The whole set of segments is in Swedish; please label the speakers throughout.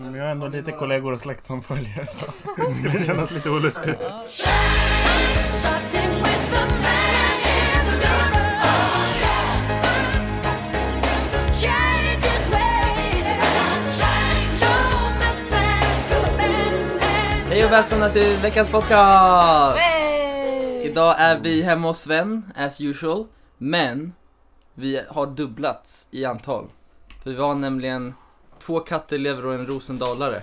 Speaker 1: har ändå lite kollegor och släkt som följer. Så det skulle kännas lite olustigt.
Speaker 2: Starting with the man in the mirror. Change his ways. No message to abandon.
Speaker 3: Hej och välkomna till veckans podcast!
Speaker 4: Hey!
Speaker 3: Idag är vi hemma hos Sven, as usual. Men vi har dubblats i antal. För vi har nämligen två kattelever och en rosendalare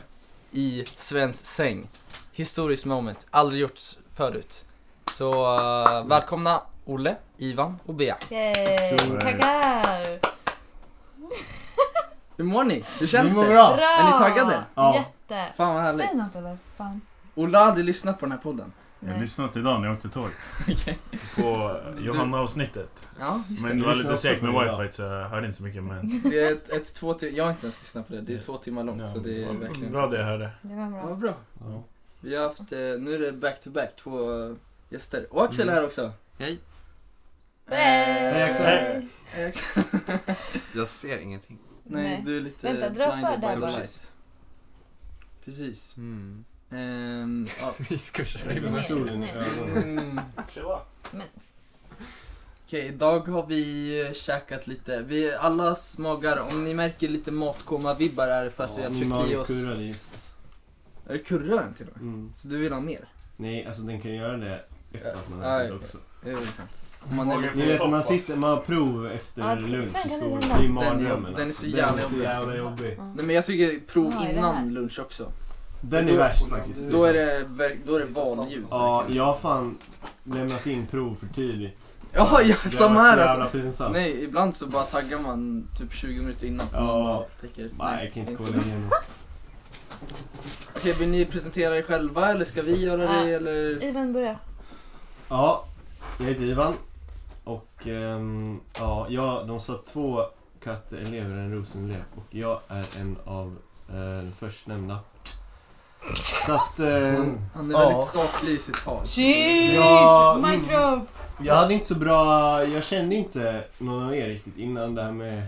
Speaker 3: i Svens säng. Historiskt moment, aldrig gjorts förut. Så eh, välkomna Olle, Ivan och Bea.
Speaker 4: Yay!
Speaker 1: Tjohej.
Speaker 4: Tackar!
Speaker 3: Hur mår ni? Hur
Speaker 5: Det
Speaker 3: känns
Speaker 5: går
Speaker 3: det?
Speaker 4: Bra!
Speaker 5: bra.
Speaker 3: Är ni taggade?
Speaker 5: Ja.
Speaker 4: Jätte!
Speaker 3: Fan vad härligt.
Speaker 4: Säg något eller? Fan.
Speaker 3: Olle har aldrig lyssnat på den här podden.
Speaker 1: Jag
Speaker 4: Nej.
Speaker 1: lyssnade idag när jag åkte tåg. På Johanna-avsnittet.
Speaker 3: Ja, just
Speaker 1: Men
Speaker 3: det.
Speaker 1: det var
Speaker 5: lyssnar
Speaker 1: lite
Speaker 5: också
Speaker 1: segt med
Speaker 5: på det idag.
Speaker 1: wifi så jag hörde inte så mycket. Men
Speaker 3: Det är ett, ett två tim- jag har inte ens lyssnat på det. Det är två timmar långt.
Speaker 1: ja,
Speaker 3: Så det är
Speaker 1: vad
Speaker 3: verkligen...
Speaker 1: bra det jag hörde.
Speaker 4: Det var
Speaker 3: Ja,
Speaker 4: bra.
Speaker 3: vad bra.
Speaker 5: Ja.
Speaker 3: Vi har haft, eh, nu är det back to back, två eh, gäster. Och Axel
Speaker 1: Mm.
Speaker 3: är här också.
Speaker 6: Hej.
Speaker 3: Eh,
Speaker 4: Hej,
Speaker 5: Axel.
Speaker 1: Hej.
Speaker 3: hej, Axel.
Speaker 6: Jag ser ingenting.
Speaker 3: Nej,
Speaker 4: Nej.
Speaker 3: du är lite
Speaker 4: Vänta, dra
Speaker 3: blinded
Speaker 4: för
Speaker 3: by
Speaker 4: där
Speaker 3: the
Speaker 4: bara.
Speaker 3: light. Precis.
Speaker 6: Mm.
Speaker 3: Ehm, ja.
Speaker 6: Vi skursar
Speaker 4: Lite
Speaker 6: in.
Speaker 4: mer.
Speaker 5: Solen i ögonen.
Speaker 3: Mm. Okej, idag har vi eh, käkat lite. Vi, allas magar, om ni märker lite matkoma-vibbar är det för att vi har
Speaker 5: Min
Speaker 3: tryckt i
Speaker 5: mage
Speaker 3: oss...
Speaker 5: kurrar i just alltså.
Speaker 3: Är det kurran till och med?
Speaker 5: Mm.
Speaker 3: Så du vill ha mer?
Speaker 5: Nej, alltså den kan göra det efter att man
Speaker 3: Ja,
Speaker 5: har ätit
Speaker 3: okej.
Speaker 5: också.
Speaker 3: Det är väl sant. Om man är lite...
Speaker 5: Ni vet, man sitter, man har prov efter
Speaker 4: Ja, det-
Speaker 5: lunch.
Speaker 4: Sven, kan
Speaker 5: och
Speaker 4: du
Speaker 5: så-
Speaker 4: göra
Speaker 5: Det är
Speaker 4: den?
Speaker 3: Den
Speaker 5: mardrömmen
Speaker 3: är- den är så
Speaker 5: alltså.
Speaker 3: jävla
Speaker 5: Den är så
Speaker 3: jobbig, alltså.
Speaker 5: jävla jobbig.
Speaker 3: Nej men jag tycker prov
Speaker 4: Ja, är det här?
Speaker 3: innan lunch också.
Speaker 5: Den är värst faktiskt.
Speaker 3: Då är det, verk- då är det valljus.
Speaker 5: Ja,
Speaker 3: verkligen.
Speaker 5: jag har fan lämnat in prov för tidigt.
Speaker 3: Ja, ja
Speaker 5: Det har
Speaker 3: samma
Speaker 5: varit så
Speaker 3: här
Speaker 5: jävla
Speaker 3: alltså.
Speaker 5: pinsamt.
Speaker 3: Nej, ibland så bara taggar man typ 20 minuter innan för
Speaker 5: Ja.
Speaker 3: man bara tänker,
Speaker 5: Nej, jag kan
Speaker 3: inte.
Speaker 5: inte kolla igenom.
Speaker 3: Okej, vill ni presentera er själva eller ska vi göra det
Speaker 4: Ja.
Speaker 3: eller?
Speaker 4: Ivan börjar.
Speaker 5: Ja, jag heter Ivan. Och ehm, ja, jag, de sa två kattelever och en rosenlöv. Och jag är en av eh, de förstnämnda. Så att... ehm,
Speaker 3: Han, han är
Speaker 5: ja.
Speaker 3: väldigt saklig i sitt tal.
Speaker 4: Shit!
Speaker 5: Ja, mm.
Speaker 4: Micro!
Speaker 5: Jag hade inte så bra, jag kände inte någon av er riktigt innan det här med,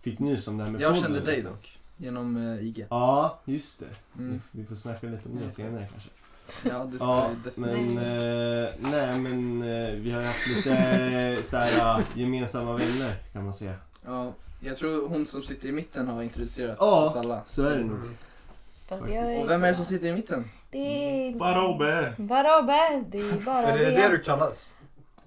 Speaker 5: fick nys om det här med
Speaker 3: Jag
Speaker 5: podden,
Speaker 3: kände dig
Speaker 5: liksom.
Speaker 3: dock, genom eh, IG.
Speaker 5: Ja, just det.
Speaker 3: Mm.
Speaker 5: Vi, vi får snacka lite om
Speaker 3: Ja,
Speaker 5: det
Speaker 3: exakt.
Speaker 5: senare kanske.
Speaker 3: Ja, det ska
Speaker 5: Ja,
Speaker 3: vi definitivt.
Speaker 5: men, eh, nej men eh, vi har ju haft lite så här, eh, gemensamma vänner kan man säga.
Speaker 3: Ja, jag tror hon som sitter i mitten har introducerat
Speaker 5: Ja.
Speaker 3: oss alla.
Speaker 5: Så är det nog.
Speaker 4: Fast jag
Speaker 3: Och vem är det som sitter i mitten?
Speaker 4: Det är...
Speaker 1: Bara Obbe!
Speaker 4: Bara Obbe! Det är bara
Speaker 6: Är det
Speaker 4: Bea.
Speaker 6: det du kallas?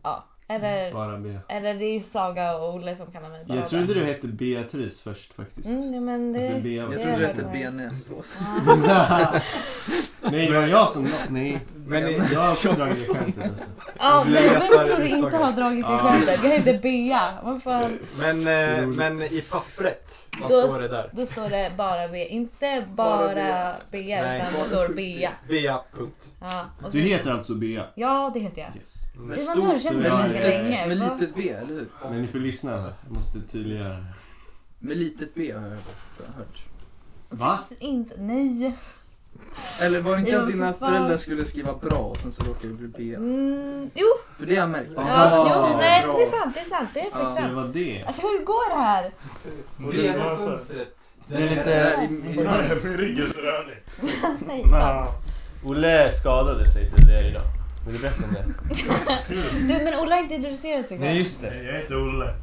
Speaker 4: Ja. Eller,
Speaker 5: Bara B.
Speaker 4: eller det är Saga och Olle som kallar mig bara
Speaker 5: Jag trodde
Speaker 4: Obbe.
Speaker 5: du hette Beatrice först faktiskt.
Speaker 4: Mm, ja, men
Speaker 5: Att det
Speaker 4: det...
Speaker 5: B var
Speaker 3: Jag
Speaker 4: Det
Speaker 3: trodde
Speaker 4: är
Speaker 3: du hette
Speaker 4: väl-
Speaker 3: bearnaisesås.
Speaker 4: Ah,
Speaker 5: Nej, det var jag som Nej,
Speaker 6: Men
Speaker 3: ni-
Speaker 5: jag har också dragit det skämtet alltså.
Speaker 4: Ja, men
Speaker 6: Jag
Speaker 4: vem tror
Speaker 6: letar
Speaker 4: du inte
Speaker 6: utdrag.
Speaker 4: har dragit det
Speaker 5: Ja.
Speaker 4: skämtet? Jag heter Bea. Vad fan?
Speaker 6: Men,
Speaker 5: Så
Speaker 6: eh,
Speaker 5: roligt.
Speaker 6: men i pappret, vad
Speaker 4: Då-
Speaker 6: står det där?
Speaker 4: Då står det bara B, inte bara,
Speaker 3: Bea.
Speaker 4: B
Speaker 6: Nej.
Speaker 4: utan det står Bea.
Speaker 6: Bea, punkt.
Speaker 4: Ja, och så-
Speaker 5: Du heter alltså Bea?
Speaker 4: Ja, det heter jag.
Speaker 5: Yes.
Speaker 3: Med
Speaker 4: Det var
Speaker 3: stor-
Speaker 4: när du kände
Speaker 5: så
Speaker 4: mig
Speaker 5: jag
Speaker 4: så
Speaker 5: är-
Speaker 4: länge.
Speaker 3: Med
Speaker 4: va?
Speaker 3: litet B, eller hur?
Speaker 5: Men ni får lyssna här. Jag måste tydliggöra det här.
Speaker 3: Med litet B har jag hört.
Speaker 5: Va?
Speaker 4: Fast Inte, nej.
Speaker 3: Eller var det inte
Speaker 4: Jo,
Speaker 3: att dina
Speaker 4: för fan.
Speaker 3: föräldrar skulle skriva bra och sen så råkade det bli B?
Speaker 4: Mm, jo,
Speaker 3: För det har jag märkt.
Speaker 4: ja,
Speaker 5: Ah.
Speaker 4: jo, nej,
Speaker 3: Bra.
Speaker 4: det är sant, det är sant, det är
Speaker 3: Ja.
Speaker 4: faktiskt
Speaker 5: Så det
Speaker 4: sant.
Speaker 5: var det.
Speaker 4: Alltså hur går det här?
Speaker 3: Mm.
Speaker 5: Det är
Speaker 3: Det
Speaker 5: lite...
Speaker 3: är i- i-
Speaker 1: Min rygg är så rörlig.
Speaker 4: Nej, fan.
Speaker 5: Olle skadade sig tidigare idag. Vill du berätta om det?
Speaker 4: Du, men Ola har inte introducerat sig själv.
Speaker 5: just
Speaker 1: Jag heter Olle.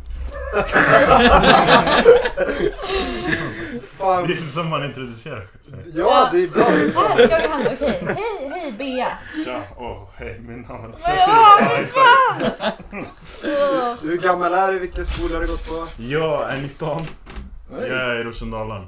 Speaker 6: Fan.
Speaker 1: Det är inte som man introducerar sig.
Speaker 6: Ja, det är bra.
Speaker 4: Här ska vi handla, okej. Hej, hej Bea.
Speaker 1: Tja, åh, hej, min namn är...
Speaker 4: Men ja, fy
Speaker 1: exakt.
Speaker 4: fan! Så,
Speaker 6: Hur gammal är du? Vilken skola har du gått på?
Speaker 1: Jag är 19.
Speaker 3: Oj.
Speaker 1: Jag är Rosendalen.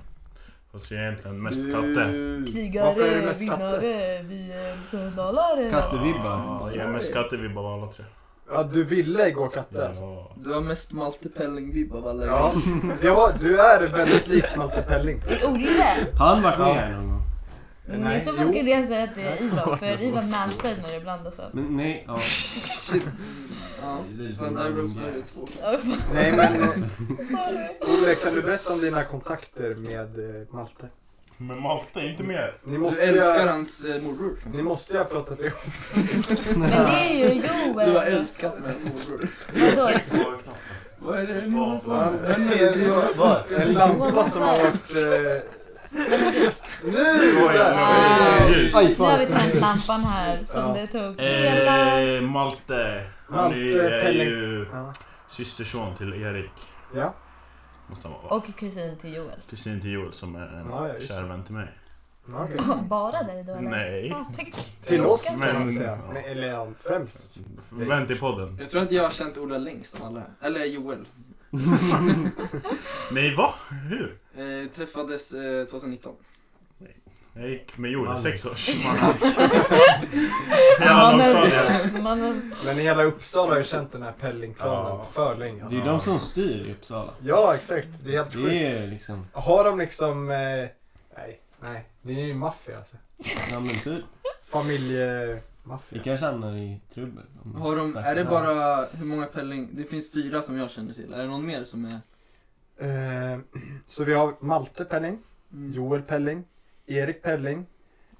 Speaker 1: Fast jag är egentligen mest katte.
Speaker 6: Varför är det
Speaker 4: krigare,
Speaker 6: mest katter?
Speaker 4: vinnare, vi eh, är söndalare.
Speaker 5: Kattevibbar.
Speaker 1: Ja, jag är mest katte vi bara alla tre.
Speaker 6: Ja, du ville igår katter.
Speaker 1: Ja.
Speaker 3: Du har mest Malte Pelling-vibb av alla.
Speaker 6: Ja, du, har, du är väldigt lik Malte Pelling.
Speaker 4: Olle.
Speaker 5: Har han varit med här någon gång?
Speaker 4: Men
Speaker 6: Nej,
Speaker 4: I så fall
Speaker 6: jo.
Speaker 4: skulle jag säga att det är Ivan, för Ivan mansplainar ibland alltså.
Speaker 5: Men nej, ja.
Speaker 3: Ja. Fan, där blev det två.
Speaker 4: Åh, fan,
Speaker 6: Nej men eh,
Speaker 4: sorry.
Speaker 6: Olle, kan du berätta om dina kontakter med eh, Malte?
Speaker 1: Men Malte, inte mer.
Speaker 6: Ni
Speaker 3: Du
Speaker 6: måste ju
Speaker 3: älskar
Speaker 6: ha-
Speaker 3: hans eh, morbror.
Speaker 6: ni måste ju ha pratat ihop.
Speaker 4: Men det är ju
Speaker 3: Du har
Speaker 4: Joel.
Speaker 3: älskat med morbror.
Speaker 4: Vadå?
Speaker 3: Vad är det nu?
Speaker 6: Han- En, en, en lampa som har varit eh, Nu var
Speaker 5: Där.
Speaker 6: jag
Speaker 4: Wow.
Speaker 1: Ljus.
Speaker 6: Aj,
Speaker 4: Nu har
Speaker 6: fan.
Speaker 4: vi tänt lampan här som
Speaker 6: Ja.
Speaker 4: det tog hela...
Speaker 1: Eh, Malte. Han
Speaker 6: Malte
Speaker 1: är, är
Speaker 6: Pelling.
Speaker 1: ju
Speaker 6: Ja.
Speaker 1: systerson till Erik.
Speaker 6: Ja.
Speaker 1: Måste han vara.
Speaker 4: Och kusin till Joel.
Speaker 1: Kusin till Joel som är en
Speaker 6: Ja, ja, just
Speaker 1: kär vän till mig.
Speaker 6: Ja, okej.
Speaker 4: Bara dig då eller?
Speaker 1: Nej.
Speaker 4: Ja, tack.
Speaker 6: Till oss
Speaker 1: Men-
Speaker 6: kan man säga.
Speaker 1: ja.
Speaker 6: Nej, Eller ja, främst.
Speaker 1: Vän till podden.
Speaker 3: Jag tror inte jag har känt Ola längst av alla. Eller Joel.
Speaker 1: Nej, va? Hur?
Speaker 3: Eh, träffades eh, 2019.
Speaker 1: Jag gick med Joel i
Speaker 5: Mannen.
Speaker 1: sex års.
Speaker 4: Ja,
Speaker 1: Jävla lågstadiet.
Speaker 4: men- Mannen,
Speaker 6: Men hela Uppsala har ju känt den här Pellingklanen
Speaker 1: Ja.
Speaker 6: för länge.
Speaker 5: Det är
Speaker 6: Alltså.
Speaker 5: ju de som styr i Uppsala.
Speaker 6: Ja, exakt. Det är helt
Speaker 5: Det
Speaker 6: sjukt.
Speaker 5: är liksom...
Speaker 6: Har de liksom... Eh, nej, nej. Det är ju maffia alltså.
Speaker 5: Ja men typ. Vi
Speaker 6: Familjemaffia.
Speaker 5: kanske hamnar i trubbel. om vi
Speaker 3: Har de,
Speaker 5: snackar
Speaker 3: är det
Speaker 5: här.
Speaker 3: bara, hur många Pelling? Det finns fyra som jag känner till. Är det någon mer som är?
Speaker 6: Eh, så vi har Malte Pelling,
Speaker 3: Mm.
Speaker 6: Joel Pelling, Erik Pelling,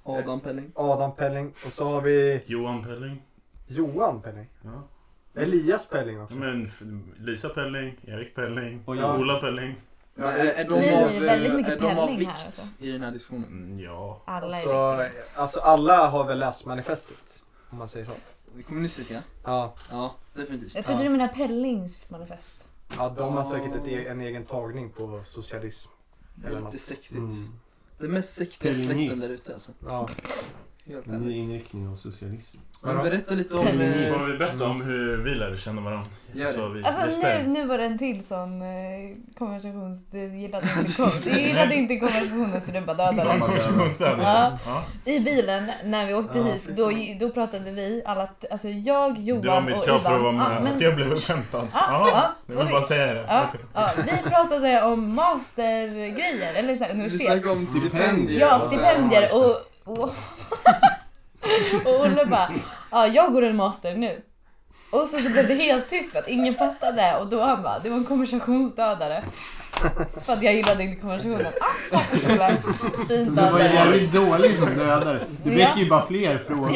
Speaker 3: Adam Pelling.
Speaker 6: Adam Pelling och så har vi
Speaker 1: Johan Pelling.
Speaker 6: Johan Pelling.
Speaker 1: Ja.
Speaker 6: Elias Pelling också.
Speaker 1: Men f- Lisa Pelling, Erik Pelling,
Speaker 5: Oj,
Speaker 6: ja.
Speaker 1: Ola Pelling.
Speaker 3: Ja, är, är de
Speaker 4: Nu blir det
Speaker 3: av, eh,
Speaker 4: väldigt mycket
Speaker 3: är de av
Speaker 4: Pelling här,
Speaker 3: vikt
Speaker 4: alltså.
Speaker 3: i den här diskussionen?
Speaker 1: Mm, ja.
Speaker 4: alla är
Speaker 6: Alltså,
Speaker 4: viktiga.
Speaker 6: alltså alla har väl läst manifestet? Om man säger så.
Speaker 3: Kommunistiska?
Speaker 6: Ja,
Speaker 3: Ja, definitivt.
Speaker 4: Jag trodde du menade Pellings manifest.
Speaker 6: ja de har säkert ett, e- en egen tagning på socialism.
Speaker 3: Det är lite sektigt.
Speaker 6: Mm.
Speaker 3: Det är mest sektiga
Speaker 5: Pelling
Speaker 3: släkten
Speaker 5: is.
Speaker 3: där ute alltså.
Speaker 6: Ja.
Speaker 3: Helt
Speaker 5: Ny
Speaker 6: Mm.
Speaker 3: ärligt.
Speaker 5: inriktning av socialism.
Speaker 3: Men berätta lite om...
Speaker 4: Pelling
Speaker 3: eh,
Speaker 4: is.
Speaker 1: Får vi berätta om hur vi lärde känna varandra?
Speaker 3: Gör
Speaker 1: Så
Speaker 3: det.
Speaker 1: vi
Speaker 4: Alltså
Speaker 1: visste.
Speaker 4: nu, nu var det en till sån eh, konversations... Du gillade inte, kon... du gillade inte konversationen så du bara dödade
Speaker 1: Någon
Speaker 4: den.
Speaker 1: konversationsställning.
Speaker 4: Ja.
Speaker 1: Ja.
Speaker 4: I bilen när vi åkte
Speaker 6: Ja.
Speaker 4: hit, då, då pratade vi alla... Alltså jag, Johan och Ivan.
Speaker 1: Det var mitt krav för att vara med.
Speaker 4: Ja, men-
Speaker 1: Att jag blev skämtad.
Speaker 4: Ja, ja.
Speaker 1: Jag vill bara säga det.
Speaker 4: Ja, ja, vi pratade om mastergrejer, eller så här,
Speaker 3: Du
Speaker 4: universitet.
Speaker 3: snackade om stipendier.
Speaker 4: Ja,
Speaker 3: och så-
Speaker 4: stipendier och... Och, och Olle bara, ja jag går en master nu. Och så blev det helt tyst för att ingen fattade och då han bara, det var en konversationsdödare. För att jag gillade inte konversationen. Ah, tack, Olle. Fint
Speaker 5: Alltså, det var
Speaker 4: dödare.
Speaker 5: jävligt dåligt som dödare. Det
Speaker 4: Ja.
Speaker 5: väcker ju bara fler frågor.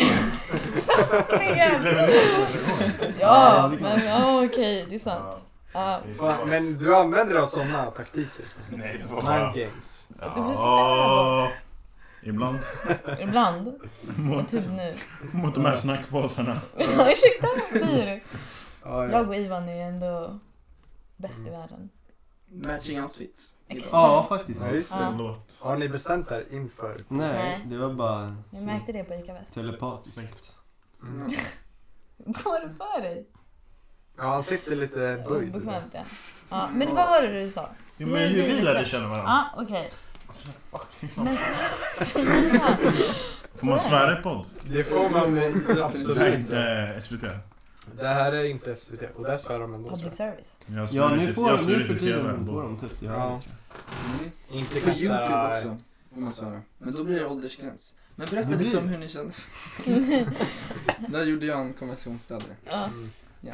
Speaker 4: Ja, men ja, okej, det är sant. Ja.
Speaker 6: Va, Men du använder av sådana taktiker? så.
Speaker 1: Nej, det var bara...
Speaker 6: Mind games.
Speaker 1: Ja.
Speaker 4: Du får sitta där bak.
Speaker 1: Ibland.
Speaker 4: Ibland. Och
Speaker 1: Mot,
Speaker 4: typ nu.
Speaker 1: mot de här snackpåsarna.
Speaker 4: Ja, Ursäkta, vad säger du?
Speaker 6: Ja, ja.
Speaker 4: Jag och Ivan är ändå bäst i världen.
Speaker 3: Matching outfits.
Speaker 4: Exakt.
Speaker 5: Ja, faktiskt.
Speaker 6: Ja, just det.
Speaker 4: Ja.
Speaker 1: Låt.
Speaker 6: Har ni bestämt er inför?
Speaker 5: Nej,
Speaker 4: Nej.
Speaker 5: det var bara
Speaker 4: Jag märkte det på ICA Väst.
Speaker 5: telepatiskt.
Speaker 1: Snyggt.
Speaker 3: Mm.
Speaker 4: Går det för dig?
Speaker 6: Ja, han sitter lite böjd.
Speaker 4: Obekvämt ja. ja. Men vad var det du sa?
Speaker 1: Jo, men hur vi lärde känna
Speaker 4: Ja,
Speaker 1: varandra.
Speaker 4: okej.
Speaker 1: Alltså, fuck.
Speaker 4: Men snälla.
Speaker 1: Får man svära i podd?
Speaker 6: Det får man eh,
Speaker 1: Det här är
Speaker 6: absolut inte.
Speaker 1: inte eh, SVT.
Speaker 6: Det här är inte SVT och där svär de ändå. tror
Speaker 4: Public
Speaker 6: jag.
Speaker 4: service.
Speaker 1: Jag
Speaker 5: Ja,
Speaker 1: stod
Speaker 5: nu
Speaker 1: inte-
Speaker 5: får
Speaker 1: jag
Speaker 5: de
Speaker 1: stod
Speaker 5: nu
Speaker 1: inte
Speaker 5: för
Speaker 1: i tv
Speaker 5: tiden.
Speaker 1: ändå.
Speaker 5: Får de typ. Ja,
Speaker 6: Ja.
Speaker 5: det tror
Speaker 3: Mm.
Speaker 6: Inte
Speaker 3: På
Speaker 6: kanske...
Speaker 3: Youtube också, får man svara. Men då blir det åldersgräns. Men berätta
Speaker 5: Det blir-
Speaker 3: lite om hur ni kände. Där gjorde jag en konversationsställare.
Speaker 4: Ja.
Speaker 6: Mm.
Speaker 3: Ja.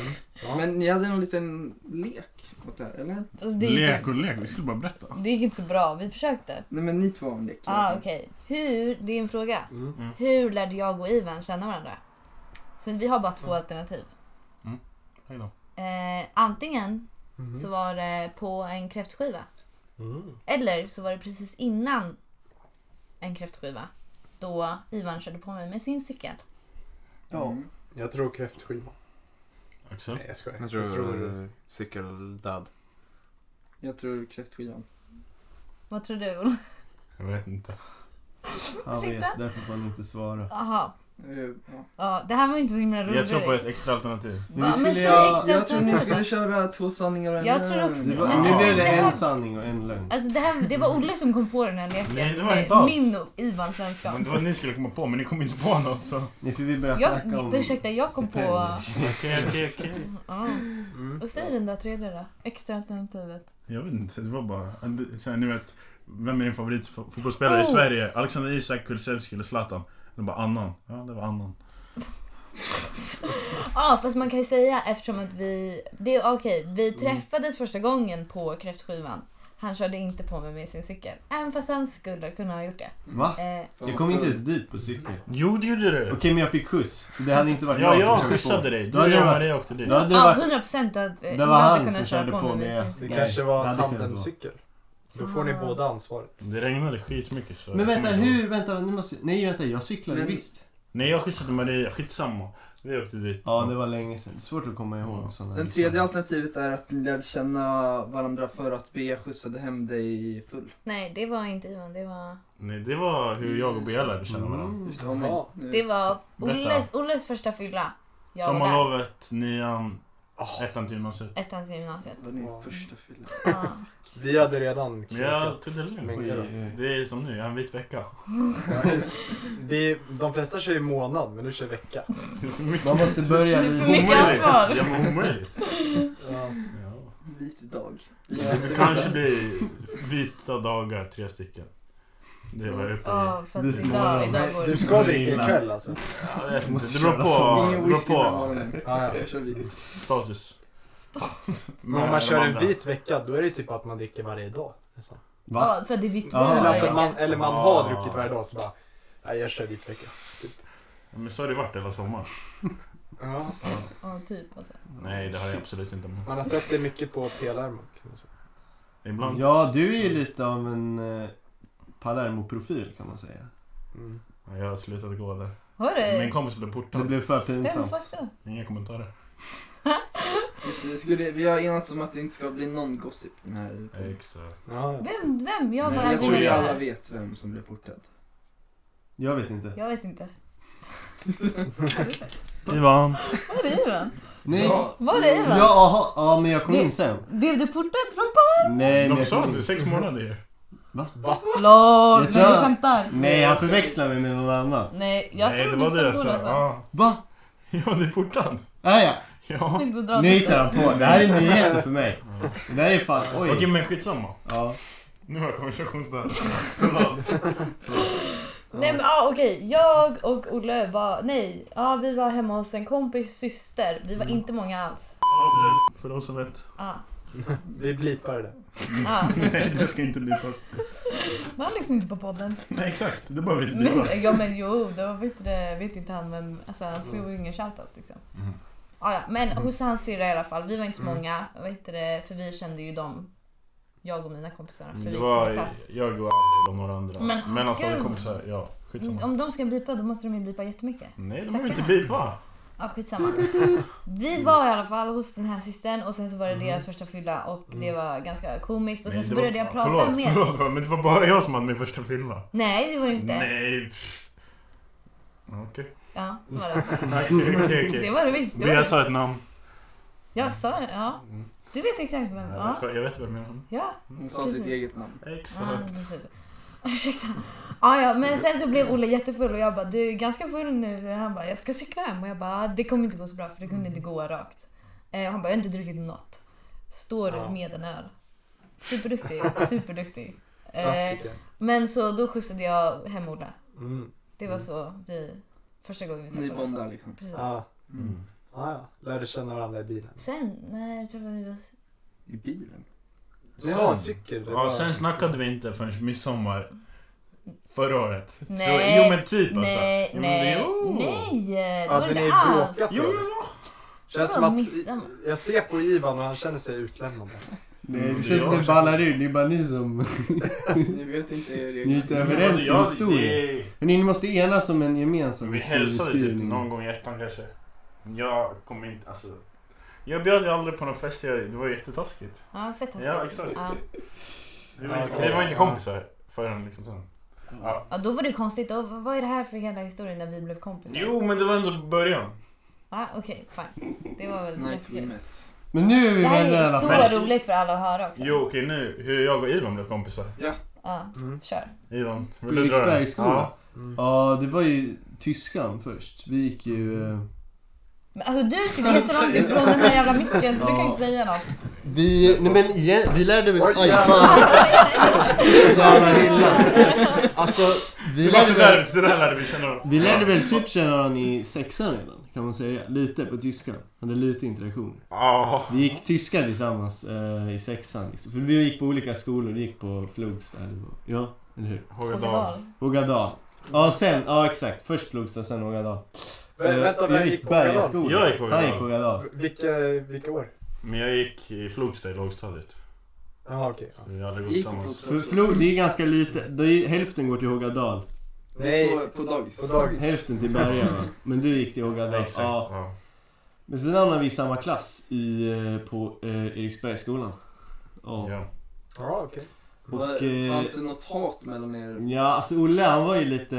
Speaker 6: Mm. Ja.
Speaker 3: Men ni hade någon liten lek åt det här, eller?
Speaker 4: Alltså, det, gick
Speaker 1: Lek
Speaker 4: inte,
Speaker 1: och lek, vi skulle bara berätta.
Speaker 4: det gick inte så bra. Vi försökte.
Speaker 3: Nej men ni två har en lek.
Speaker 4: Ah, okej. Hur, det är en fråga.
Speaker 6: Mm.
Speaker 4: Hur lärde jag och Ivan känna varandra? Så vi har bara två
Speaker 6: Mm.
Speaker 4: alternativ.
Speaker 1: Hej då.
Speaker 4: Eh, antingen
Speaker 6: Mm.
Speaker 4: så var det på en kräftskiva.
Speaker 6: Mm.
Speaker 4: Eller så var det precis innan en kräftskiva. Då Ivan körde på mig med sin cykel.
Speaker 3: Ja.
Speaker 6: Jag tror kräftskiva.
Speaker 1: Axel.
Speaker 6: Nej, jag skojar.
Speaker 5: Mm.
Speaker 7: Jag tror,
Speaker 6: Jag tror...
Speaker 7: eh, cykeldöd.
Speaker 3: Jag tror kräftskivan.
Speaker 4: Vad tror du Olle?
Speaker 1: Jag vet inte.
Speaker 5: jag. Han vet,
Speaker 4: Ursäkta?
Speaker 5: därför får han inte svara.
Speaker 4: Jaha.
Speaker 3: Eh, ja.
Speaker 4: Ja, det här var inte så himla roligt.
Speaker 1: Jag tror på ett extra alternativ.
Speaker 5: Nu
Speaker 4: Va,
Speaker 5: skulle
Speaker 4: men säg
Speaker 5: jag-
Speaker 4: exakt
Speaker 3: Jag tror
Speaker 4: vad
Speaker 3: ni
Speaker 4: jag
Speaker 3: skulle
Speaker 4: sa.
Speaker 3: köra två sanningar och en
Speaker 4: Jag tror
Speaker 3: lögn.
Speaker 4: också-
Speaker 5: Det var,
Speaker 4: Men
Speaker 5: nu
Speaker 4: alltså,
Speaker 5: blev det
Speaker 4: det här-
Speaker 5: en sanning och en lögn.
Speaker 4: Alltså det, här, det var Olle som kom på den här leken.
Speaker 1: Nej, det var
Speaker 4: med
Speaker 1: inte alls.
Speaker 4: Min och Ivans vänskap.
Speaker 1: Men det var ni skulle komma på, men ni kom inte på något så...
Speaker 5: Nu får vi börja snacka om...
Speaker 4: Jag, ursäkta, jag kom på...
Speaker 5: stipendier.
Speaker 1: Okej, okej, okej.
Speaker 4: Ja.
Speaker 6: Mm.
Speaker 4: Vad säger den där tredje då? Extra alternativet.
Speaker 1: Jag vet inte, det var bara... Så här, ni vet, vem är din favoritfotbollsspelare i
Speaker 4: Oh!
Speaker 1: Sverige? Alexander Isak, Kulusevski eller Zlatan? Det var bara annan. Ja, det var annan.
Speaker 4: Ja, fast man kan ju säga eftersom att vi... Det är okej, vi
Speaker 5: Mm.
Speaker 4: träffades första gången på kräftskivan. Han körde inte på mig med sin cykel. Även fast han skulle kunna ha gjort det.
Speaker 5: Va?
Speaker 4: Eh,
Speaker 3: Fan,
Speaker 5: Jag kom inte
Speaker 3: vad
Speaker 5: ens dit på cykel.
Speaker 1: Jo, det gjorde du!
Speaker 5: Okej, men jag fick skjuts. Så det hade inte varit
Speaker 1: Ja,
Speaker 5: jag
Speaker 1: jag
Speaker 5: som körde på.
Speaker 1: skjutsade dig.
Speaker 5: Då
Speaker 1: Du och
Speaker 5: hade det
Speaker 1: jag
Speaker 5: varit...
Speaker 1: Maria åkte dit.
Speaker 5: Då hade det
Speaker 4: Ja,
Speaker 5: varit...
Speaker 4: 100% att eh, jag
Speaker 5: Det var
Speaker 4: hade
Speaker 5: han
Speaker 4: kunnat
Speaker 5: som
Speaker 4: köra
Speaker 5: körde
Speaker 4: på
Speaker 5: på
Speaker 4: mig med
Speaker 5: med-
Speaker 4: sin
Speaker 6: Det
Speaker 4: cykel.
Speaker 5: Nej,
Speaker 6: kanske
Speaker 5: det
Speaker 6: var
Speaker 5: hade kunnat vara.
Speaker 6: tandemcykel. Då får ni
Speaker 4: Ah.
Speaker 6: båda ansvaret.
Speaker 1: Det regnade skitmycket så...
Speaker 5: Men vänta, hur? Vänta, nu måste... Nej, vänta, jag cyklade
Speaker 6: Men-
Speaker 5: visst.
Speaker 1: Nej jag skjutsade Maria, skitsamma. Vi åkte dit.
Speaker 5: Ja, det var länge sedan. Svårt att komma ihåg liksom sådana
Speaker 3: Den tredje alternativet är att ni lärde känna varandra för att Bea skjutsade hem dig full.
Speaker 4: Nej, det var inte Ivan. Det var,
Speaker 1: Nej, det var hur jag och Bea lärde känna varandra.
Speaker 5: Mm.
Speaker 3: Just det, honom.
Speaker 6: Ja.
Speaker 4: det var
Speaker 1: Berätta.
Speaker 4: Olles, Olles första fylla. Jag var där.
Speaker 1: Sommarlovet, nian, ettan till gymnasiet.
Speaker 4: Ettan till gymnasiet.
Speaker 3: Det var din
Speaker 6: Ja.
Speaker 3: första fylla.
Speaker 4: Ja.
Speaker 6: Vi hade redan
Speaker 1: Men jag
Speaker 6: knäckat
Speaker 1: tog det lugnt.
Speaker 5: Oj,
Speaker 6: mängder av-
Speaker 5: oj, oj.
Speaker 1: Det är som nu, jag har en vit vecka.
Speaker 6: Ja, just. Det är, de flesta kör ju månad, men du kör vecka.
Speaker 1: Det är för mycket.
Speaker 5: Man måste börja
Speaker 4: Det är för
Speaker 5: vid-
Speaker 4: mycket
Speaker 1: Omöjligt.
Speaker 4: ansvar.
Speaker 1: Ja men omöjligt.
Speaker 6: Ja.
Speaker 1: Ja.
Speaker 3: Vit dag.
Speaker 1: Det kanske blir vita dagar, tre stycken. Det var jag uppe i.
Speaker 4: Ja, för
Speaker 5: Vi
Speaker 4: att
Speaker 5: får
Speaker 4: idag,
Speaker 5: vara-
Speaker 4: idag går
Speaker 6: Du
Speaker 4: det.
Speaker 5: Mm.
Speaker 6: ska dricka ikväll alltså?
Speaker 1: Jag vet inte,
Speaker 5: Måste
Speaker 1: det beror
Speaker 5: köra
Speaker 1: på,
Speaker 5: så.
Speaker 1: det
Speaker 3: Ingen
Speaker 1: beror
Speaker 3: whisky den
Speaker 1: på
Speaker 3: morgonen.
Speaker 6: Ja, ja.
Speaker 3: Jag kör vit.
Speaker 1: status.
Speaker 6: Men om man kör en vit vecka, då är det typ att man dricker varje dag. nästan.
Speaker 5: Va?
Speaker 4: Ja, för det är vitt
Speaker 5: Ja,
Speaker 6: Eller,
Speaker 4: vin.
Speaker 6: alltså,
Speaker 5: ja.
Speaker 6: man, eller man
Speaker 1: Ah.
Speaker 6: har druckit varje dag, så bara... Nej, jag kör vit vecka.
Speaker 1: Men så har det varit hela sommaren.
Speaker 6: Ja.
Speaker 4: Ja, typ alltså.
Speaker 1: Nej det har jag absolut inte. Men
Speaker 6: Man har sett det mycket på Pelarmo. kan man säga.
Speaker 1: Ibland.
Speaker 5: Ja, du är ju lite av en eh, Palermo-profil kan man säga.
Speaker 6: Mm.
Speaker 1: Jag har slutat gå där. Min
Speaker 4: Hörru!
Speaker 1: kompis blev
Speaker 5: Det
Speaker 1: portad.
Speaker 5: blev för
Speaker 4: Vem
Speaker 5: pinsamt.
Speaker 4: fuck då?
Speaker 1: Inga kommentarer.
Speaker 3: Just det, det skulle, vi har enats om att det inte ska bli någon gossip den här podden.
Speaker 1: Exakt.
Speaker 6: Ja, ja.
Speaker 4: Vem? Vem? Jag
Speaker 1: Nej,
Speaker 4: var
Speaker 1: jag
Speaker 3: Jag
Speaker 1: tror
Speaker 3: tror
Speaker 1: vi
Speaker 3: ju
Speaker 1: är
Speaker 3: alla
Speaker 4: här.
Speaker 3: vet vem som blev portad.
Speaker 5: Jag vet inte.
Speaker 4: Jag vet inte.
Speaker 1: Ivan.
Speaker 4: Var det Ivan?
Speaker 5: Nej. Ja,
Speaker 3: Ja.
Speaker 4: Var det Ivan?
Speaker 5: aha, ja, men jag kom
Speaker 4: Det-
Speaker 5: in sen.
Speaker 4: Blev du portad från Palermo?
Speaker 5: Nej, men
Speaker 1: De
Speaker 5: jag
Speaker 1: sa
Speaker 5: kom
Speaker 1: att
Speaker 5: in.
Speaker 1: du sex månader ju.
Speaker 4: LOL!
Speaker 5: Jag
Speaker 4: Men
Speaker 5: tror
Speaker 4: du
Speaker 5: jag-
Speaker 4: skämtar?
Speaker 5: Nej, han förväxlar mig med någon annan.
Speaker 4: Nej, jag
Speaker 1: Nej det
Speaker 4: tror
Speaker 1: var det jag
Speaker 4: nästan
Speaker 1: sa.
Speaker 4: på det. Alltså.
Speaker 1: Ja.
Speaker 5: Va?
Speaker 1: Ja du är portad.
Speaker 5: Ah, ja.
Speaker 4: Jag vill
Speaker 1: Ja.
Speaker 4: inte dra
Speaker 5: Nu
Speaker 4: till
Speaker 5: hittar han på. Det här är nyheter för mig. Det här är fan...
Speaker 1: Okej
Speaker 5: Oj.
Speaker 1: men skitsamma.
Speaker 5: Ja.
Speaker 1: Nu har jag konversationsstörning. Förlåt.
Speaker 4: Nej men ah, okej, jag och Olle var, nej, ja vi var hemma hos en kompis syster. Vi
Speaker 1: Mm.
Speaker 4: var inte många alls.
Speaker 1: För de som vet.
Speaker 4: Ah,
Speaker 6: Vi blipar det.
Speaker 4: ah.
Speaker 1: Nej, det ska inte blipas.
Speaker 4: Man lyssnar inte på podden.
Speaker 1: Nej, exakt. Det behöver inte
Speaker 4: Men,
Speaker 1: blipas.
Speaker 4: ja men jo, då vet, det, vet inte han vem, alltså han får ju ingen shoutout liksom.
Speaker 1: Mm.
Speaker 4: Ah, ja, men hos hans syrra i alla fall, vi var inte så många, vet det, för vi kände ju dem, jag och mina kompisar, för Alltså, vi
Speaker 1: Mm, Det
Speaker 4: gick i samma
Speaker 1: var
Speaker 4: klass.
Speaker 1: jag och Adel och några andra.
Speaker 4: Men
Speaker 1: Men alltså,
Speaker 4: gud.
Speaker 1: det kommer så här, ja. Skitsamma.
Speaker 4: Mm, Om de ska blipa då måste de ju blipa jättemycket.
Speaker 1: Nej, de
Speaker 4: Stackarna.
Speaker 1: behöver inte blipa.
Speaker 4: Ja, skitsamma. Vi var i alla fall hos den här systern och sen så var det deras första fylla och det var ganska komiskt och
Speaker 1: Mm. Nej, det
Speaker 4: sen så
Speaker 1: var-
Speaker 4: började jag prata
Speaker 1: förlåt,
Speaker 4: med...
Speaker 1: Förlåt, men det var bara jag som hade min första fylla.
Speaker 4: Nej, det var det inte.
Speaker 1: Nej. pff. Okej.
Speaker 4: Ja, det var det.
Speaker 1: Okej, okej,
Speaker 4: Det
Speaker 1: okej.
Speaker 4: var det visst. Det var
Speaker 1: Bea
Speaker 4: det.
Speaker 1: sa ett namn.
Speaker 4: Jag sa ja.
Speaker 1: Mm.
Speaker 4: Du vet exakt vem.
Speaker 1: Jag
Speaker 4: Ja.
Speaker 1: vet vad- jag vet vem jag är.
Speaker 4: Ja,
Speaker 3: Hon sa sitt eget namn.
Speaker 4: ja
Speaker 1: Exakt.
Speaker 4: precis. Ursäkta. Ja, ja, men sen så blev Olle jättefull och jag bara du är ganska full nu. Han bara jag ska cykla hem och jag bara det kommer inte gå så bra för det kunde inte gå rakt. Eh, och han bara jag har inte druckit något. Står
Speaker 6: Ja.
Speaker 4: med en öl. Superduktig, superduktig. Eh,
Speaker 6: Klassiker.
Speaker 4: Men så då skjutsade jag hem Ola.
Speaker 6: Mm.
Speaker 4: Det var så vi, första gången vi
Speaker 3: Ni
Speaker 4: träffades.
Speaker 3: bondar liksom.
Speaker 4: Precis.
Speaker 6: Ja.
Speaker 1: Mm.
Speaker 6: Ja, ja. Lärde känna varandra i bilen.
Speaker 4: Sen, när träffade vi oss?
Speaker 3: I bilen.
Speaker 6: Ja, cykel. Det
Speaker 1: Ja,
Speaker 6: var...
Speaker 1: sen snackade vi inte förrän midsommar förra året.
Speaker 4: Nej.
Speaker 1: Jo men typ alltså.
Speaker 4: nej,
Speaker 1: Jo, men
Speaker 4: nej,
Speaker 1: jo.
Speaker 4: nej! Det
Speaker 6: Hade
Speaker 4: var det
Speaker 6: ni
Speaker 4: inte alls.
Speaker 6: bråkat?
Speaker 1: Jo men vad?
Speaker 6: Känns
Speaker 4: Det
Speaker 6: som
Speaker 4: var
Speaker 6: att
Speaker 4: midsommar.
Speaker 6: jag ser på Ivan och han känner sig utlämnad.
Speaker 5: Det,
Speaker 1: Mm,
Speaker 5: det
Speaker 1: det
Speaker 5: känns
Speaker 1: gör
Speaker 5: som det
Speaker 1: jag.
Speaker 5: ballar ur. Det är bara ni som...
Speaker 3: Ni vet inte er
Speaker 5: Ni är inte
Speaker 3: regler.
Speaker 5: överens om
Speaker 1: Ja,
Speaker 5: historien.
Speaker 1: det-
Speaker 5: Hörni, ni måste enas om en gemensam
Speaker 1: Vi hälsade typ
Speaker 5: historieskrivning.
Speaker 1: någon gång i ettan kanske. Jag kommer inte, alltså. Jag bjöd ju aldrig på någon fest, jag, det var jättetaskigt.
Speaker 4: Ja, fett taskigt.
Speaker 1: Ja, exakt.
Speaker 4: Ja.
Speaker 1: Vi var inte,
Speaker 6: Okej.
Speaker 1: vi var inte kompisar förrän liksom sen. Ja.
Speaker 4: ja, då var det konstigt. Och vad är det här för hela historien när vi blev kompisar?
Speaker 1: Jo, men det var ändå början.
Speaker 4: Ja, okej, fine. Det var väl
Speaker 3: Nej,
Speaker 4: rätt kul.
Speaker 3: teamet.
Speaker 5: Men nu är vi
Speaker 4: Det här
Speaker 5: vänner i
Speaker 4: är
Speaker 5: alla
Speaker 4: så
Speaker 5: fall.
Speaker 4: roligt för alla att höra också.
Speaker 1: Jo, okej nu, hur jag och Ivan blev kompisar.
Speaker 4: Ja,
Speaker 6: Mm.
Speaker 4: kör.
Speaker 1: Ivan,
Speaker 5: På
Speaker 1: vill du dra den?
Speaker 5: Eriksbergsskolan.
Speaker 6: Mm.
Speaker 5: Ja, det var ju tyskan först. Vi gick ju... eh,
Speaker 4: Men alltså du sitter jättelångt ifrån den här jävla micken så du kan inte säga något.
Speaker 5: Vi... Nej men igen, vi lärde väl...
Speaker 6: Oj,
Speaker 5: Aj fan! Jävla illa. Alltså, vi
Speaker 1: Det var
Speaker 5: lärde
Speaker 1: sådär,
Speaker 5: väl...
Speaker 1: sådär lärde vi känna varandra.
Speaker 5: Vi lärde väl typ känna varandra i sexan redan, kan man säga. Lite på tyska. Hade lite interaktion.
Speaker 1: Ja.
Speaker 5: Vi gick tyska tillsammans eh, i sexan. Liksom. För vi gick på olika skolor. Vi gick på Flogsta. eller vad- Ja, eller hur?
Speaker 1: Hågadal.
Speaker 5: Hågadal. Ja, sen. Ja, exakt. Först Flogsta, sen Hågadal.
Speaker 6: Vä- Vänta,
Speaker 5: Eh,
Speaker 6: vem
Speaker 5: jag
Speaker 6: gick
Speaker 5: gick
Speaker 6: på Berga
Speaker 5: Bergaskolan.
Speaker 1: Jag gick
Speaker 5: Han gick
Speaker 1: Hågadal.
Speaker 5: Hågadal.
Speaker 6: Vilka, vilka år?
Speaker 1: Men jag gick i Flogsta i lågstadiet.
Speaker 6: Ja, okej. ja.
Speaker 1: Vi hade gått
Speaker 3: Gick på
Speaker 1: tillsammans.
Speaker 5: För, för nog- det är ganska lite, det är, hälften går till Hågadal,
Speaker 6: Nej.
Speaker 3: Nej. På dagis.
Speaker 6: På dagis.
Speaker 5: hälften till Berga va? Men du gick till
Speaker 1: Ja,
Speaker 5: Hågadal.
Speaker 1: exakt. Ja.
Speaker 5: Men sen hamnade vi i samma klass i, eh, på eh, Eriksbergsskolan. Ja.
Speaker 1: Ja.
Speaker 6: Ja, okej.
Speaker 5: Och, eh,
Speaker 3: Fanns det något hat mellan er?
Speaker 5: Ja, alltså Olle han var ju lite,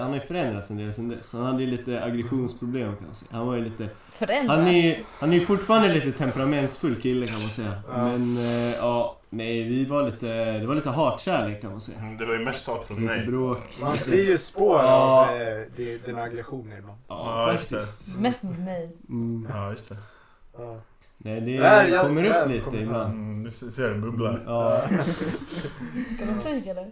Speaker 5: han har ju förändrats en del sen dess. Han hade ju lite aggressionsproblem kan man säga. Han var ju lite,
Speaker 4: Förändrat.
Speaker 5: han är, han är fortfarande lite temperamentsfull kille kan man säga.
Speaker 6: Ja.
Speaker 5: Men eh, ja, nej vi var lite, det var lite hatkärlek kan man säga.
Speaker 1: Men Det var ju mest hat från
Speaker 5: Lite
Speaker 1: mig.
Speaker 5: bråk.
Speaker 6: Man ser ju spår
Speaker 5: Ja.
Speaker 6: av eh, di- dina aggressioner ibland.
Speaker 5: Ja,
Speaker 1: Ja, just
Speaker 5: faktiskt.
Speaker 4: Mest mot mig.
Speaker 5: Mm.
Speaker 1: Ja, just det.
Speaker 6: Ja.
Speaker 5: Nej, det
Speaker 6: Där, jag-
Speaker 5: kommer upp
Speaker 6: där
Speaker 5: lite
Speaker 6: kommer
Speaker 5: ibland.
Speaker 1: Mm, du ser, det bubblar.
Speaker 5: Ja,
Speaker 4: Ska du stryka eller?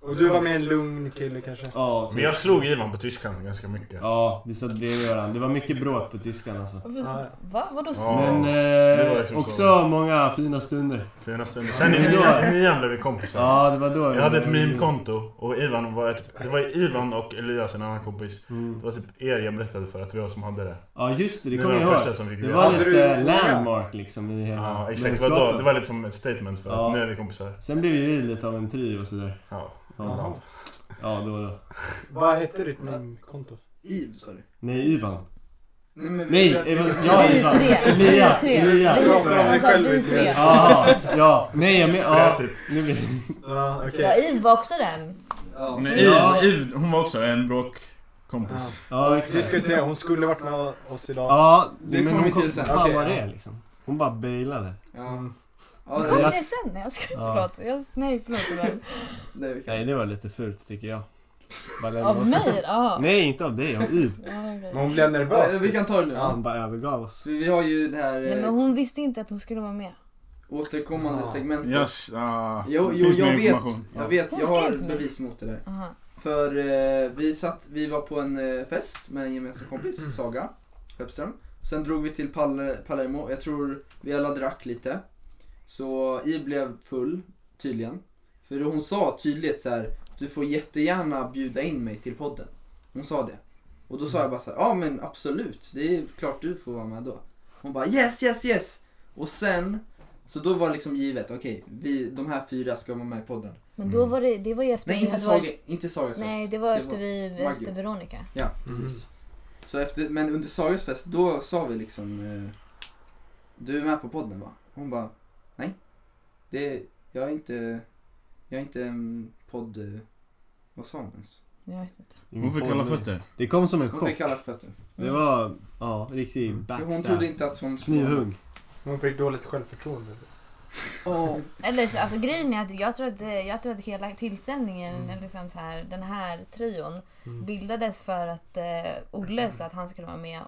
Speaker 6: Och du var med en lugn kille kanske?
Speaker 5: ja,
Speaker 1: Men
Speaker 5: så,
Speaker 1: jag slog Ivan på tyskan ganska mycket.
Speaker 5: ja, vi satt bredvid varandra. Det var mycket bråk på tyskan alltså.
Speaker 4: Varför,
Speaker 6: Ja,
Speaker 4: så-
Speaker 6: ja.
Speaker 4: va? Vadå så?
Speaker 1: Ja.
Speaker 5: Men
Speaker 1: det var
Speaker 5: eh,
Speaker 1: liksom så.
Speaker 5: också många fina stunder.
Speaker 1: För nästan, sen i nian- i nian blev vi kompisar.
Speaker 5: Ja, det var då.
Speaker 1: Jag hade ett meme-konto och Ivan var ett, det var Ivan och Elias, en annan kompis.
Speaker 5: Mm.
Speaker 1: Det var typ er jag berättade för att vi var som hade det.
Speaker 5: Ja, just det, det
Speaker 1: Ni
Speaker 5: kommer
Speaker 1: var
Speaker 5: jag
Speaker 1: de
Speaker 5: ihåg.
Speaker 1: första som fick
Speaker 5: Det
Speaker 1: göra
Speaker 5: var
Speaker 6: Hade
Speaker 5: lite
Speaker 6: du-
Speaker 5: landmark liksom i hela
Speaker 1: Ja, exakt. Det var, då, det var lite som ett statement för
Speaker 5: Ja.
Speaker 1: att nu är vi kompisar.
Speaker 5: Sen blev ju vi lite av en trio och sådär.
Speaker 1: Ja.
Speaker 5: Ja,
Speaker 6: Jaha.
Speaker 5: ja då då.
Speaker 6: Vad hette ditt meme-konto?
Speaker 3: Iv sa du?
Speaker 5: Nej, Ivan.
Speaker 3: Nej, men vi-
Speaker 5: Nej,
Speaker 3: vi-
Speaker 5: Ivan.
Speaker 3: vi-
Speaker 5: Ja,
Speaker 4: Vi
Speaker 5: Ivan.
Speaker 4: tre.
Speaker 5: Elias.
Speaker 4: Vi tre.
Speaker 5: Elias.
Speaker 4: Vi tre. Han sa vi tre.
Speaker 5: Jaha, ja. Nej, jag menar... Ja,
Speaker 1: Frätigt.
Speaker 5: nu blir
Speaker 6: Ja, okej.
Speaker 4: Ja, Iv var också den.
Speaker 3: Ja.
Speaker 1: Men
Speaker 5: Ja.
Speaker 1: Iv, Iv, hon var också en bråkkompis.
Speaker 5: Ja,
Speaker 6: Vi ska
Speaker 5: exakt.
Speaker 6: se, hon skulle varit med oss idag.
Speaker 5: Ja,
Speaker 3: Det
Speaker 5: men
Speaker 3: kommer
Speaker 5: hon
Speaker 3: vi
Speaker 5: kom...
Speaker 3: till sen.
Speaker 5: Fan
Speaker 6: Okej,
Speaker 5: vad det
Speaker 6: ja.
Speaker 5: är liksom. Hon bara bailade.
Speaker 3: Ja.
Speaker 6: Mm.
Speaker 4: Kom
Speaker 3: Ja,
Speaker 4: ner
Speaker 3: det-
Speaker 4: sen. Nej, Jag ska
Speaker 5: Ja.
Speaker 4: förlåt. Jag, nej, förlåt. Ivan.
Speaker 3: Nej, vi kan-
Speaker 5: Nej, det var lite fult tycker jag. Bara lämna
Speaker 4: Av
Speaker 5: oss.
Speaker 4: mig? Ja.
Speaker 5: Nej, inte av dig. Av Iv.
Speaker 4: Ja, okej.
Speaker 6: Men hon blev
Speaker 3: Ja,
Speaker 6: nervös.
Speaker 3: Vi kan ta det nu.
Speaker 5: Han bara övergav oss.
Speaker 3: För vi har ju det här
Speaker 4: Nej,
Speaker 3: eh,
Speaker 4: men hon visste inte att hon skulle vara med.
Speaker 3: återkommande
Speaker 6: Ja.
Speaker 3: segmentet.
Speaker 1: Yes, ah,
Speaker 3: Jo,
Speaker 1: det
Speaker 3: jo
Speaker 1: finns
Speaker 3: jag,
Speaker 1: mer
Speaker 3: vet,
Speaker 1: information.
Speaker 3: jag vet,
Speaker 4: Hon
Speaker 3: jag
Speaker 4: skrev
Speaker 3: har
Speaker 4: till mig.
Speaker 3: bevis mot det där.
Speaker 4: Aha.
Speaker 3: För eh, vi, satt, vi var på en eh, fest med en gemensam kompis, Saga Skeppström. Sen drog vi till Pal- Palermo, jag tror vi alla drack lite. Så I blev full, tydligen. För hon sa tydligt så här: du får jättegärna bjuda in mig till podden. Hon sa det. Och då sa jag bara så här, ja men absolut, det är klart du får vara med då. Hon bara yes, yes, yes! Och sen, så då var liksom givet, okej, vi de här fyra ska vara med i podden.
Speaker 4: Men då var det, det var ju efter
Speaker 3: Nej,
Speaker 4: vi
Speaker 3: inte
Speaker 4: hade varit-
Speaker 3: Saga, inte Saga först.
Speaker 4: Nej, det var
Speaker 3: Det
Speaker 4: efter
Speaker 3: var
Speaker 4: vi,
Speaker 3: Maggio.
Speaker 4: efter Veronica.
Speaker 3: Ja,
Speaker 5: Mm.
Speaker 3: precis. Så efter, men under Sagas fest, då sa vi liksom eh, Du är med på podden va? Hon bara Nej. Det, jag är inte, jag är inte en podd... eh, Vad sa hon ens?
Speaker 4: Jag vet inte.
Speaker 1: Hon fick kalla fötter.
Speaker 5: Det kom som en
Speaker 3: Hon fick
Speaker 5: chock.
Speaker 3: kalla fötter.
Speaker 5: Det
Speaker 4: Mm.
Speaker 5: var, ja, riktig
Speaker 3: För
Speaker 5: backstab.
Speaker 3: Hon trodde inte att hon
Speaker 5: Knivhugg.
Speaker 6: Hon fick dåligt självförtroende.
Speaker 3: Åh.
Speaker 4: Eller, så- alltså, grejen är att jag tror att, eh, jag tror att hela tillställningen, eller liksom så här, den här trion, bildades för att eh, Olle sa att han skulle vara med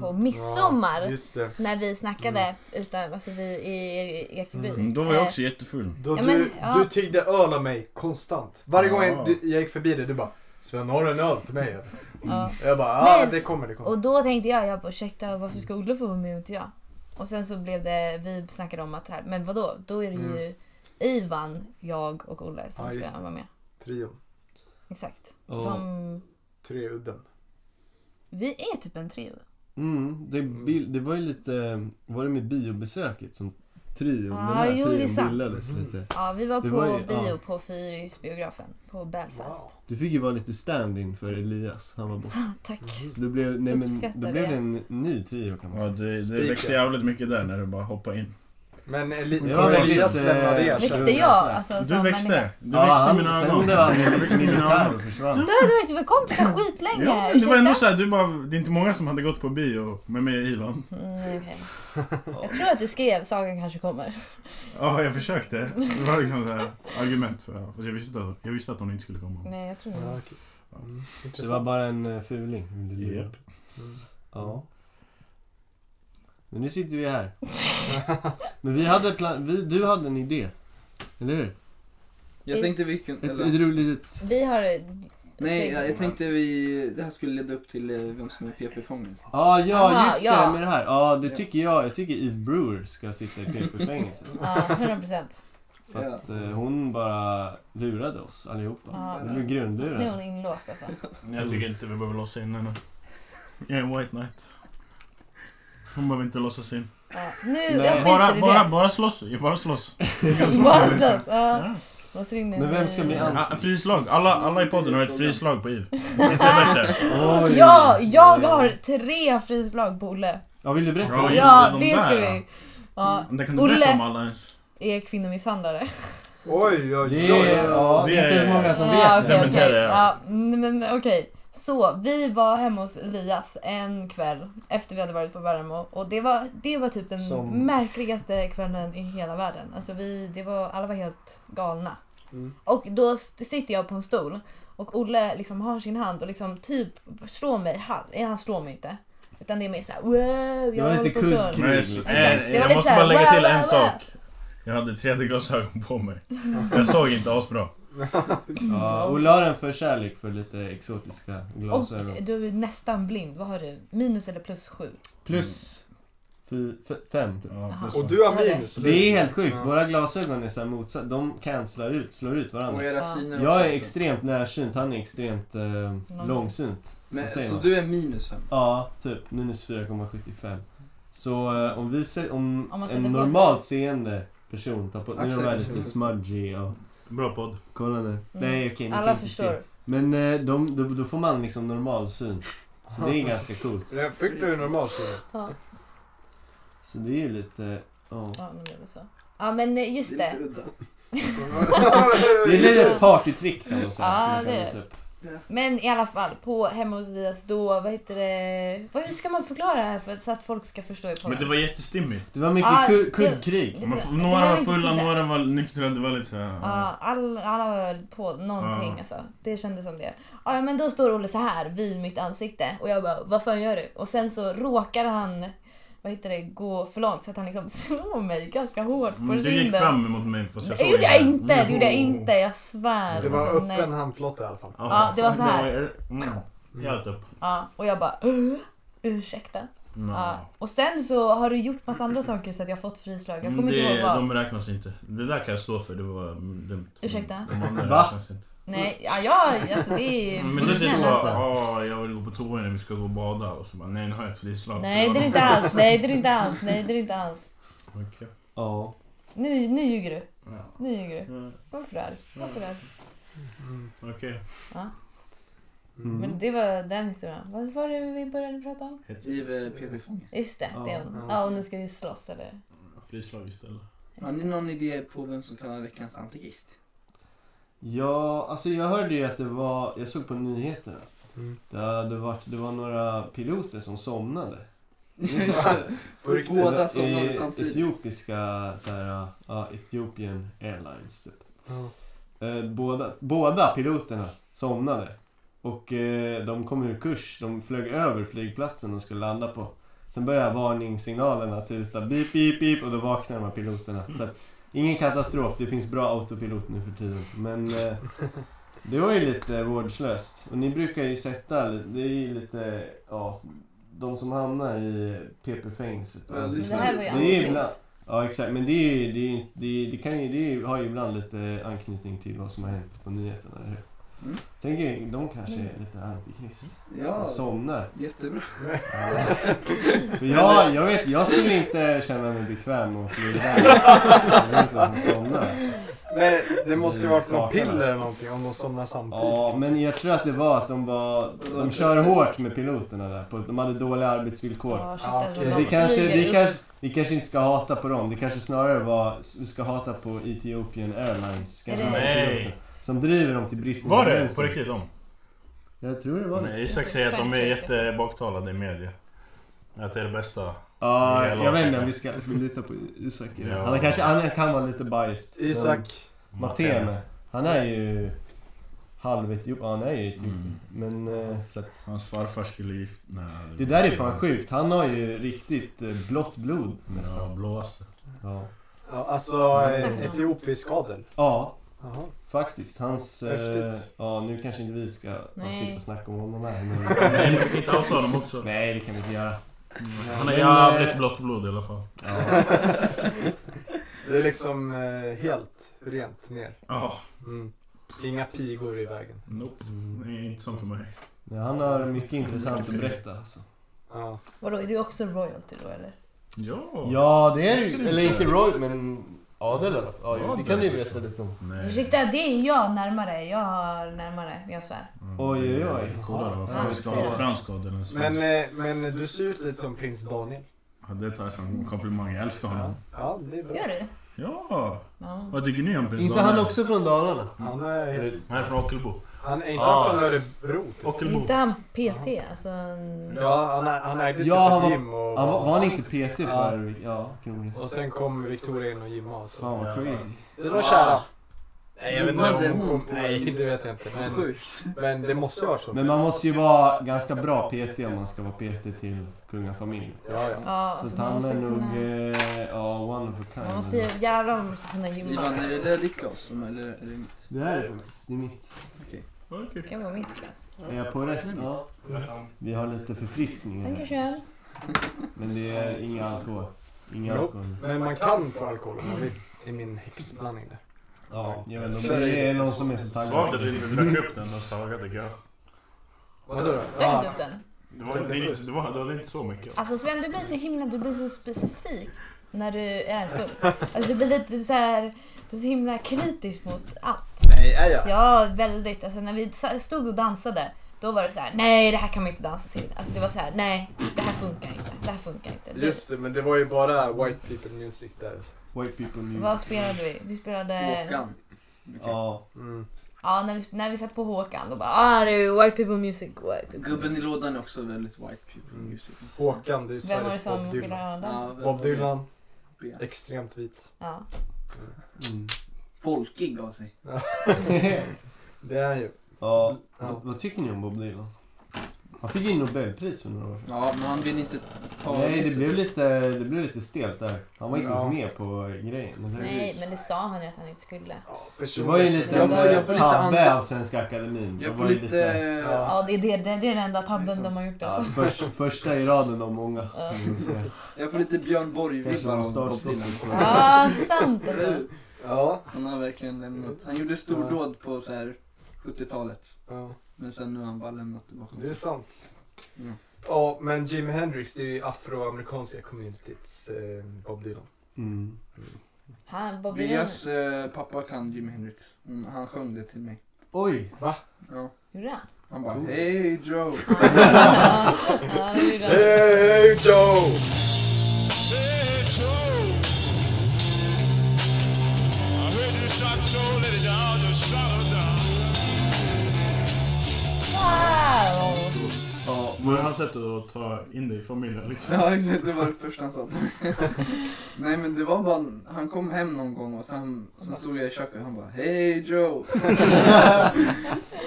Speaker 4: på midsommar.
Speaker 6: Mm. Ja, just det.
Speaker 4: när vi snackade utan, alltså, vi i i Ekeby.
Speaker 1: Mm, Då var jag
Speaker 4: Eh,
Speaker 1: också jättefull.
Speaker 6: Då
Speaker 4: Ja,
Speaker 6: du,
Speaker 4: men, ja.
Speaker 6: du tyggde öl av mig konstant. Varje gång
Speaker 1: Ja.
Speaker 6: jag, du, jag gick förbi dig, du bara Sven, har du en öl till mig? eller?"
Speaker 4: Eh, ja.
Speaker 6: Jag bara, ja
Speaker 4: Men-
Speaker 6: det kommer, det kommer.
Speaker 4: Och då tänkte jag, jag bara ursäkta varför ska Olle få vara med och inte jag? Och sen så blev det, vi snackade om att här, men vadå, då är det ju Ivan, jag och Olle som
Speaker 6: Ja, just
Speaker 4: ska
Speaker 6: det.
Speaker 4: vara med.
Speaker 6: Trion.
Speaker 4: Exakt.
Speaker 5: Ja.
Speaker 4: Som,
Speaker 6: Treudden.
Speaker 4: vi är typ en trio.
Speaker 5: Mm, det, bil- det var ju lite, var det med biobesöket som trion,
Speaker 4: Ah,
Speaker 5: den här
Speaker 4: jo, det är
Speaker 5: trion
Speaker 4: sant.
Speaker 5: bildades lite.
Speaker 4: Ja, vi var
Speaker 5: Det
Speaker 4: på
Speaker 5: var ju-
Speaker 4: bio
Speaker 5: ja.
Speaker 4: på Fyrisbiografen på Belfast.
Speaker 6: Wow.
Speaker 5: Du fick ju vara lite stand-in för Elias, han var borta.
Speaker 4: Ah, Tack.
Speaker 5: Så det blev, nej, men,
Speaker 4: Uppskattar
Speaker 5: då blev
Speaker 4: det.
Speaker 5: det en ny trio kan man
Speaker 1: Ja,
Speaker 5: säga.
Speaker 1: det, det
Speaker 6: Spiken.
Speaker 1: växte jävligt mycket där när du bara hoppade in.
Speaker 6: Men Eli-
Speaker 5: Det var väldigt,
Speaker 6: Elias
Speaker 5: eh,
Speaker 6: lämnade er.
Speaker 5: Växte-
Speaker 6: sen.
Speaker 4: Växte jag? Alltså,
Speaker 1: Du
Speaker 4: som människa?
Speaker 1: växte. Du
Speaker 5: Ja,
Speaker 1: växte i
Speaker 5: han-
Speaker 1: mina
Speaker 5: sen
Speaker 1: ögon.
Speaker 5: blev han
Speaker 1: Du växte i mina
Speaker 5: militär och
Speaker 1: ögon. Mm.
Speaker 5: försvann.
Speaker 4: Du hade varit kompisar skitlänge!
Speaker 1: Ja, men det var ändå
Speaker 4: ursäkta.
Speaker 1: såhär, du bara, det är inte många som hade gått på bio med mig och Ivan.
Speaker 4: Mm, okej. Jag tror att du skrev Sagan kanske kommer.
Speaker 1: Ja, jag försökte. Det var liksom såhär argument för Fast jag visste, att, jag visste att hon inte skulle komma.
Speaker 4: Nej, jag tror
Speaker 6: Ja,
Speaker 4: inte
Speaker 6: okej. Mm,
Speaker 5: Det var
Speaker 6: Intressant.
Speaker 5: bara en eh, fuling. vill du lura.
Speaker 1: Japp.
Speaker 5: Ja. Men nu sitter vi här. Men vi hade plan, vi, du hade en idé. Eller hur?
Speaker 3: Jag tänkte vi kunde...
Speaker 5: Ett,
Speaker 3: Eller,
Speaker 5: ett roligt...
Speaker 4: Vi har...
Speaker 3: nej, jag, jag tänkte vi... Det här skulle leda upp till eh, vem som är PP-fången.
Speaker 5: Ah, ja,
Speaker 4: Aha,
Speaker 5: just det
Speaker 4: ja.
Speaker 5: med det här. Ja, det
Speaker 3: Ja.
Speaker 5: tycker jag. Jag tycker Eve Brewer ska sitta i PP-fängelse.
Speaker 4: Ja, 100 procent.
Speaker 5: För
Speaker 3: Ja.
Speaker 5: att eh, hon bara lurade oss allihopa.
Speaker 4: Ja.
Speaker 5: Vi blev
Speaker 4: Nu är hon
Speaker 5: grundlurade.
Speaker 4: inlåst alltså.
Speaker 1: Jag tycker inte vi behöver låsa in henne. Jag är en white knight. Hon behöver inte låsa in.
Speaker 4: Ja. Nu,
Speaker 5: Nej.
Speaker 4: jag skiter
Speaker 1: Bara,
Speaker 4: i
Speaker 1: bara,
Speaker 4: det.
Speaker 1: bara slåss. Jag bara slåss.
Speaker 4: Bara plats. Ja.
Speaker 1: Ja.
Speaker 4: Låser in
Speaker 5: Men vem ska bli
Speaker 4: an...
Speaker 5: an...
Speaker 1: Ja, frislag. Alla, alla i podden har ett frislag på Iv. Det är bättre.
Speaker 5: Oj.
Speaker 4: Ja, jag har tre frislag på Olle.
Speaker 5: Ja, vill du berätta?
Speaker 1: Ja, just
Speaker 4: Ja,
Speaker 1: det, de
Speaker 4: det ska
Speaker 1: där,
Speaker 4: vi. Ja,
Speaker 1: Det kan du berätta
Speaker 4: Olle.
Speaker 1: om alla ens.
Speaker 4: är kvinnomisshandlare.
Speaker 7: Oj, oj,
Speaker 5: Det
Speaker 7: oj.
Speaker 5: är, ja, det är inte många som vet
Speaker 4: okej,
Speaker 5: det.
Speaker 1: men- Dementera,
Speaker 4: okej.
Speaker 1: ja.
Speaker 4: Ja, mm, men okej. Så vi var hemma hos Elias en kväll efter vi hade varit på Värnamo och det var, det var typ den
Speaker 5: Som-
Speaker 4: märkligaste kvällen i hela världen. Alltså vi, det var, alla var helt galna.
Speaker 6: Mm.
Speaker 4: Och då s- sitter jag på en stol och Olle liksom har sin hand och liksom typ slår mig. Han, eh, han slår mig inte. Utan det är mer såhär wow,
Speaker 5: Det
Speaker 4: jag
Speaker 5: var
Speaker 4: håller
Speaker 5: lite
Speaker 4: på att slå
Speaker 5: kugg.
Speaker 4: honom."
Speaker 1: Men jag-
Speaker 5: Exakt,
Speaker 4: det var
Speaker 1: eh,
Speaker 4: lite
Speaker 1: jag
Speaker 4: så
Speaker 1: måste
Speaker 4: här,
Speaker 1: bara lägga
Speaker 4: wow,
Speaker 1: till en
Speaker 4: wow,
Speaker 1: sak. Jag hade 3D-glasögon på mig. Jag såg inte asbra.
Speaker 4: Mm.
Speaker 5: Mm. Ja, Olle har en förkärlek för lite exotiska glasögon.
Speaker 4: Och du är nästan blind. Vad har du? Minus eller plus sju?
Speaker 5: Plus fy, f- fem, typ.
Speaker 1: Ja,
Speaker 4: Aha.
Speaker 1: plus
Speaker 7: Och du har
Speaker 4: Ja, det-
Speaker 7: minus. eller?
Speaker 5: Det är helt sjukt.
Speaker 7: Ja.
Speaker 5: Våra glasögon är så här motsatt. De cancelar ut, slår ut
Speaker 7: Och
Speaker 5: varandra.
Speaker 7: era
Speaker 4: Ja.
Speaker 7: syner också,
Speaker 5: Jag är
Speaker 7: alltså.
Speaker 5: extremt närsynt, han är extremt eh, långsynt.
Speaker 7: Men,
Speaker 5: Vad säger
Speaker 7: så
Speaker 5: man?
Speaker 7: du är minus fem?
Speaker 5: Ja, typ minus 4,75. Så eh, om vi se, om,
Speaker 4: Om man
Speaker 5: en
Speaker 4: sätter på sig-
Speaker 5: normalt seende person tar på... Nu är de här
Speaker 7: Axelperson.
Speaker 5: lite smudgy och...
Speaker 1: Bra podd.
Speaker 5: Kolla nu. Nej okej, ni
Speaker 4: Mm. Alla
Speaker 5: kan inte se.
Speaker 4: förstår.
Speaker 5: Men eh, de, då, då får man liksom normal syn. Så det är ganska coolt.
Speaker 7: Jag
Speaker 6: fick du en normal syna?
Speaker 4: Ja.
Speaker 5: Så det är ju lite... ja.
Speaker 4: Ja, nu blev det så. Ja, men eh, just det.
Speaker 5: Det är lite ett partytrick kan man säga.
Speaker 4: Ja,
Speaker 5: som man kan
Speaker 4: det är
Speaker 5: visa upp.
Speaker 4: Men i alla fall, på hemma hos Elias då, vad heter det? Vad, hur ska man förklara det här för, så att folk ska förstå i podden?
Speaker 1: Men det var jättestimmigt.
Speaker 5: det var mycket
Speaker 4: Ja,
Speaker 5: ku-
Speaker 4: det-
Speaker 5: kuddkrig.
Speaker 4: Det
Speaker 1: Men
Speaker 4: var- Ah,
Speaker 1: f-
Speaker 4: det
Speaker 1: Några var
Speaker 4: inte
Speaker 1: fulla,
Speaker 4: kudde.
Speaker 1: några var nyktra. Det var lite såhär...
Speaker 4: Ja, all, alla var på någonting
Speaker 1: Ja.
Speaker 4: alltså. Det kändes som det. Ja, ja, men då står Olle så här vid mitt ansikte och jag bara, vad fan gör du? Och sen så råkar han, vad heter det, gå för långt så att han liksom slår mig ganska hårt på
Speaker 1: Men Du Mm, gick fram emot mig fast jag
Speaker 4: Det
Speaker 1: såg
Speaker 4: gjorde jag inte, det
Speaker 1: Mm.
Speaker 4: gjorde jag inte, jag svär.
Speaker 6: Det var
Speaker 4: Alltså, nej.
Speaker 6: öppen handflotta i alla fall.
Speaker 4: Ja, det var så här.
Speaker 1: Mm. Jag åt upp.
Speaker 4: Ja, och jag bara, "Ugh, ursäkta.
Speaker 1: Mm.
Speaker 4: Ja. Och sen så har du gjort massa andra saker så att jag har fått frislag. Jag kommer inte ihåg
Speaker 1: Mm, det,
Speaker 4: vad.
Speaker 1: de räknas inte. Det där kan jag stå för, det var mm, dumt.
Speaker 4: Ursäkta?
Speaker 1: De andra
Speaker 5: Va?
Speaker 1: räknas inte.
Speaker 4: Nej, ja, jag, alltså det är
Speaker 1: Men det är typ
Speaker 4: snäll
Speaker 1: så,
Speaker 4: alltså.
Speaker 1: ja jag vill gå på toa innan vi ska gå och bada och så bara, nej nu har jag ett frislag.
Speaker 4: Nej, det är inte alls. Nej, det är inte alls. Nej, det är inte alls.
Speaker 1: Okej.
Speaker 5: Ja.
Speaker 4: Nu, nu ljuger du.
Speaker 1: Ja.
Speaker 4: Nu ljuger du.
Speaker 1: Ja,
Speaker 4: Varför är Varför är
Speaker 1: Okej.
Speaker 5: Mm.
Speaker 4: Men det var den historien. Vad var det vi började prata om?
Speaker 7: I PV-fången.
Speaker 4: Just det, det är hon. Ja, och nu ska vi slåss eller?
Speaker 1: Frislag istället.
Speaker 7: Har ni någon idé på vem som kan vara veckans antikrist?
Speaker 5: Ja, alltså jag hörde ju att det var, jag såg på nyheterna.
Speaker 6: Mm.
Speaker 5: Det, hade varit, det var några piloter som somnade. Minns jag det?
Speaker 6: På riktigt.
Speaker 7: Båda somnade
Speaker 5: I
Speaker 7: samtidigt.
Speaker 5: Etiopiska, så här, ja, Ethiopian Airlines typ.
Speaker 6: Ja.
Speaker 5: Eh, båda, båda piloterna somnade. Och eh, de kom ur kurs. De flög över flygplatsen de skulle landa på. Sen började varningssignalerna tuta. Beep, beep, beep. Och då vaknade de här piloterna. Så att, ingen katastrof. Det finns bra autopilot nu för tiden. Men eh, det var ju lite vårdslöst. Och ni brukar ju sätta... Det är ju lite... Ja, de som hamnar i PP-fängelset.
Speaker 7: Ja, det
Speaker 4: Men det här var ju
Speaker 5: Det är ju
Speaker 4: antikrist.
Speaker 5: ibland- Ja exakt, men det, är ju, det, är ju- det, är- det, kan ju, det är ju, har ju ibland lite anknytning till vad som har hänt på nyheterna, eller hur?
Speaker 7: Mm.
Speaker 5: Tänk er, de kanske är lite antikrist. De
Speaker 7: Ja,
Speaker 5: somnar.
Speaker 7: jättebra.
Speaker 5: För jag, jag, vet, jag skulle inte känna mig bekväm med att flyga Jag vet inte vad som somnar. alltså.
Speaker 6: Nej, det måste ju varit någon
Speaker 5: Skakarna.
Speaker 6: piller eller någonting om de somnar samtidigt.
Speaker 5: Ja, men jag tror att det var att de var... De kör hårt med piloterna där. På, de hade dåliga arbetsvillkor.
Speaker 4: Ja, shit
Speaker 6: Ja,
Speaker 4: alltså.
Speaker 5: Så
Speaker 4: de
Speaker 5: det kanske,
Speaker 4: flyger
Speaker 5: vi,
Speaker 4: upp.
Speaker 5: kanske, vi kanske inte ska hata på dem. Det kanske snarare var, vi ska hata på Ethiopian Airlines. Kanske
Speaker 4: Är det-
Speaker 1: Nej.
Speaker 5: Som driver dem till bristning
Speaker 1: Var
Speaker 5: på
Speaker 1: det på
Speaker 5: bränsle.
Speaker 1: riktigt de?
Speaker 5: Jag tror det var det.
Speaker 1: Nej, Isak säger att de är jättebaktalade i media. Att det är det bästa.
Speaker 5: Ja,
Speaker 1: Jävlar,
Speaker 5: jag vet inte
Speaker 1: kanske.
Speaker 5: om vi ska vi lita på Isak. i det.
Speaker 1: Ja.
Speaker 5: Han, är kanske, han kan vara lite biased.
Speaker 6: Isak.
Speaker 5: Som Matene. Han är ju halv etiop. Ja, han är ju etiop.
Speaker 1: Mm.
Speaker 5: Men eh, så att,
Speaker 1: Hans farfar skulle gift... Nej,
Speaker 5: det där är
Speaker 1: Mm.
Speaker 5: fan sjukt. Han har ju riktigt eh, blått blod nästan.
Speaker 1: Ja, blåaste.
Speaker 5: Ja,
Speaker 6: Ja, alltså
Speaker 4: Fast
Speaker 6: eh,
Speaker 4: det-
Speaker 6: etiopisk adel.
Speaker 5: ja
Speaker 6: Jaha.
Speaker 5: faktiskt. Hans... Eh,
Speaker 6: Häftigt.
Speaker 5: ja, nu kanske inte vi ska
Speaker 4: Nej.
Speaker 5: sitta och snacka om honom här.
Speaker 1: Nej,
Speaker 5: Men,
Speaker 1: men vi kan inte outa honom också.
Speaker 5: nej, det kan vi inte göra.
Speaker 1: Han har
Speaker 5: Men,
Speaker 1: jävligt
Speaker 5: eh,
Speaker 1: blått blod i alla fall.
Speaker 5: Ja.
Speaker 6: Det är liksom eh, helt rent ner.
Speaker 1: Ja,
Speaker 6: Mm. Inga pigor i vägen.
Speaker 1: Mm. nope. Nej, inte som för mig.
Speaker 5: Men Han har mycket intressant att berätta alltså.
Speaker 6: Ja.
Speaker 4: Vadå, är det också royalty då eller?
Speaker 1: Ja.
Speaker 5: Ja, det är det
Speaker 1: Ska
Speaker 5: ju.
Speaker 1: du
Speaker 5: Eller
Speaker 1: inte-
Speaker 5: inte Roy, men adel i alla fall. Ja, jo, det kan ni ju veta lite om.
Speaker 1: Nej.
Speaker 4: Ursäkta, det är jag närmare. Jag har närmare, jag svär.
Speaker 5: Oj, oj, oj.
Speaker 1: Kolla då, fransk
Speaker 4: Ja, det
Speaker 1: adel,
Speaker 4: ser
Speaker 1: fransk adel eller svensk.
Speaker 6: Men, eh, men du ser ut lite som prins Daniel.
Speaker 1: Ja, det tar jag som en komplimang, jag älskar honom.
Speaker 6: Ja, det är bra.
Speaker 4: Gör du?
Speaker 1: Ja!
Speaker 4: Ja.
Speaker 1: Vad tycker ni om prins
Speaker 5: Inte han också från Dalarna?
Speaker 6: Han är,
Speaker 1: Han är från Ockelbo.
Speaker 6: han är inte
Speaker 5: Ja.
Speaker 6: från Örebro typ.
Speaker 4: Är
Speaker 1: Ockelbo.
Speaker 4: inte han PT? Alltså, en-
Speaker 6: Ja, han, är- han ägde
Speaker 5: Ja,
Speaker 6: typ
Speaker 5: han
Speaker 6: ett
Speaker 5: var-
Speaker 6: gym och...
Speaker 5: Han, var, var han inte PT
Speaker 6: Ja.
Speaker 5: för... Ja, Kronor?
Speaker 6: Och sen kom Victoria in och gymmade. Så.
Speaker 5: Fan vad crazy.
Speaker 6: Det var kära. Nej, jag vet
Speaker 3: Men
Speaker 6: inte
Speaker 3: det-
Speaker 6: om hon kom på Nej, det vet jag inte.
Speaker 5: alltså.
Speaker 6: Men,
Speaker 3: Sjukt.
Speaker 6: men det måste ju ha varit så.
Speaker 5: Men man måste ju vara ganska bra PT om man ska vara PT till kungafamiljen.
Speaker 6: Ja, ja.
Speaker 4: ja, alltså,
Speaker 5: Så att
Speaker 4: man
Speaker 5: han
Speaker 4: måste
Speaker 5: är nog...
Speaker 4: kunna...
Speaker 5: eh, Ja, one of a kind.
Speaker 4: Man måste ju jävlar vad man måste kunna gymma.
Speaker 3: Ivan, är det där ditt glas som- eller är det mitt?
Speaker 5: Det här är faktiskt det är mitt.
Speaker 1: Okej.
Speaker 4: Det kan vara mitt klass.
Speaker 5: Är jag på rätt? Ja. Vi har lite förfriskningar
Speaker 4: Tänker
Speaker 5: här.
Speaker 4: jag.
Speaker 5: Men det är inga alkohol. Inga
Speaker 6: Jo.
Speaker 5: alkohol.
Speaker 6: Men man kan få alkohol om man vill. I min häxblandning där.
Speaker 5: Ja, jag vet inte om det är någon som är så
Speaker 1: Svagt att
Speaker 5: taggad.
Speaker 1: du inte drack upp den och sagade tycker jag.
Speaker 6: Vadå då?
Speaker 4: Dräng upp den.
Speaker 1: Det var, det, är inte- det var, det var inte så mycket.
Speaker 4: Alltså Sven, du blir så himla, du blir så specifik när du är full. Alltså du blir lite så här, du är så himla kritisk mot allt.
Speaker 3: Nej, är jag?
Speaker 4: Ja, väldigt. Alltså när vi sa- stod och dansade, då var det så här, nej det här kan man inte dansa till. Alltså det var så här, nej det här funkar inte, det här funkar inte. Du,
Speaker 6: Just det, men det var ju bara white people music där. alltså.
Speaker 5: White people
Speaker 4: vad
Speaker 5: music.
Speaker 4: spelade vi? Vi spelade...
Speaker 3: Håkan. Okej.
Speaker 5: Ja.
Speaker 6: Mm.
Speaker 4: Ja, när vi, när vi satt på Håkan, då bara, ah det är white people music, white people music.
Speaker 3: Gubben i lådan är också väldigt white people
Speaker 6: Mm.
Speaker 3: music.
Speaker 6: Håkan, det är
Speaker 4: Vem var det
Speaker 6: Sveriges
Speaker 4: som
Speaker 6: Bob
Speaker 4: ville
Speaker 6: Dylan.
Speaker 4: höra den?
Speaker 3: Ja,
Speaker 6: Bob Dylan,
Speaker 3: Ben.
Speaker 6: extremt vit.
Speaker 4: Ja.
Speaker 5: Mm.
Speaker 3: Folkig av sig.
Speaker 6: Det är han ju.
Speaker 5: Ja, vad, vad tycker ni om Bob Dylan? Han fick ju Nobelpris för några år sedan.
Speaker 3: Ja, men han vill inte ta
Speaker 5: Nej, det blev lite, det blev lite stelt där. Han var inte
Speaker 6: Ja.
Speaker 5: ens med på eh, grejen. eller hur?
Speaker 4: Nej, men det sa han ju att han inte skulle.
Speaker 5: Det var ju lite
Speaker 3: Jag får- jag får lite
Speaker 5: tabbe
Speaker 3: andra-
Speaker 5: av Svenska Akademin. Det
Speaker 3: Jag
Speaker 5: var
Speaker 3: får
Speaker 5: ju
Speaker 3: lite...
Speaker 6: Ja.
Speaker 4: Ja, det är, det, det är den enda tabben de har gjort
Speaker 5: Ja,
Speaker 4: alltså.
Speaker 5: först, första i raden av många. kan man säga.
Speaker 3: Jag får lite Björn
Speaker 5: Kanske
Speaker 3: Borg-vibbar
Speaker 5: var
Speaker 3: av Bob
Speaker 5: startskottet.
Speaker 3: Dylan.
Speaker 5: för-
Speaker 4: Ja, sant alltså.
Speaker 6: Ja.
Speaker 3: Han har verkligen lämnat. Han gjorde stordåd på så här 70-talet.
Speaker 6: ja,
Speaker 3: Men sen nu har han bara lämnat det bakom
Speaker 6: det är
Speaker 3: sig.
Speaker 6: sant.
Speaker 3: Mm.
Speaker 6: Ja, men Jimi Hendrix, det är ju afroamerikanska communityts eh, Bob Dylan.
Speaker 5: Mm.
Speaker 4: Han, Bob Dylan.
Speaker 3: Vias eh, pappa kan Jimi Hendrix. Hon, han sjöng det till mig.
Speaker 5: Oj!
Speaker 3: Ja.
Speaker 4: Gjorde han?
Speaker 3: Han bara Hey Joe!
Speaker 4: Ja, ja, det gjorde han.
Speaker 6: Hey Joe!
Speaker 4: Wow!
Speaker 5: Ja,
Speaker 1: Var det hans sätt att ta in dig i familjen liksom?
Speaker 3: Ja exakt, det var det första han sa. Nej men det var bara, han kom hem någon gång och sen, sen stod jag i köket och han bara Hey Joe!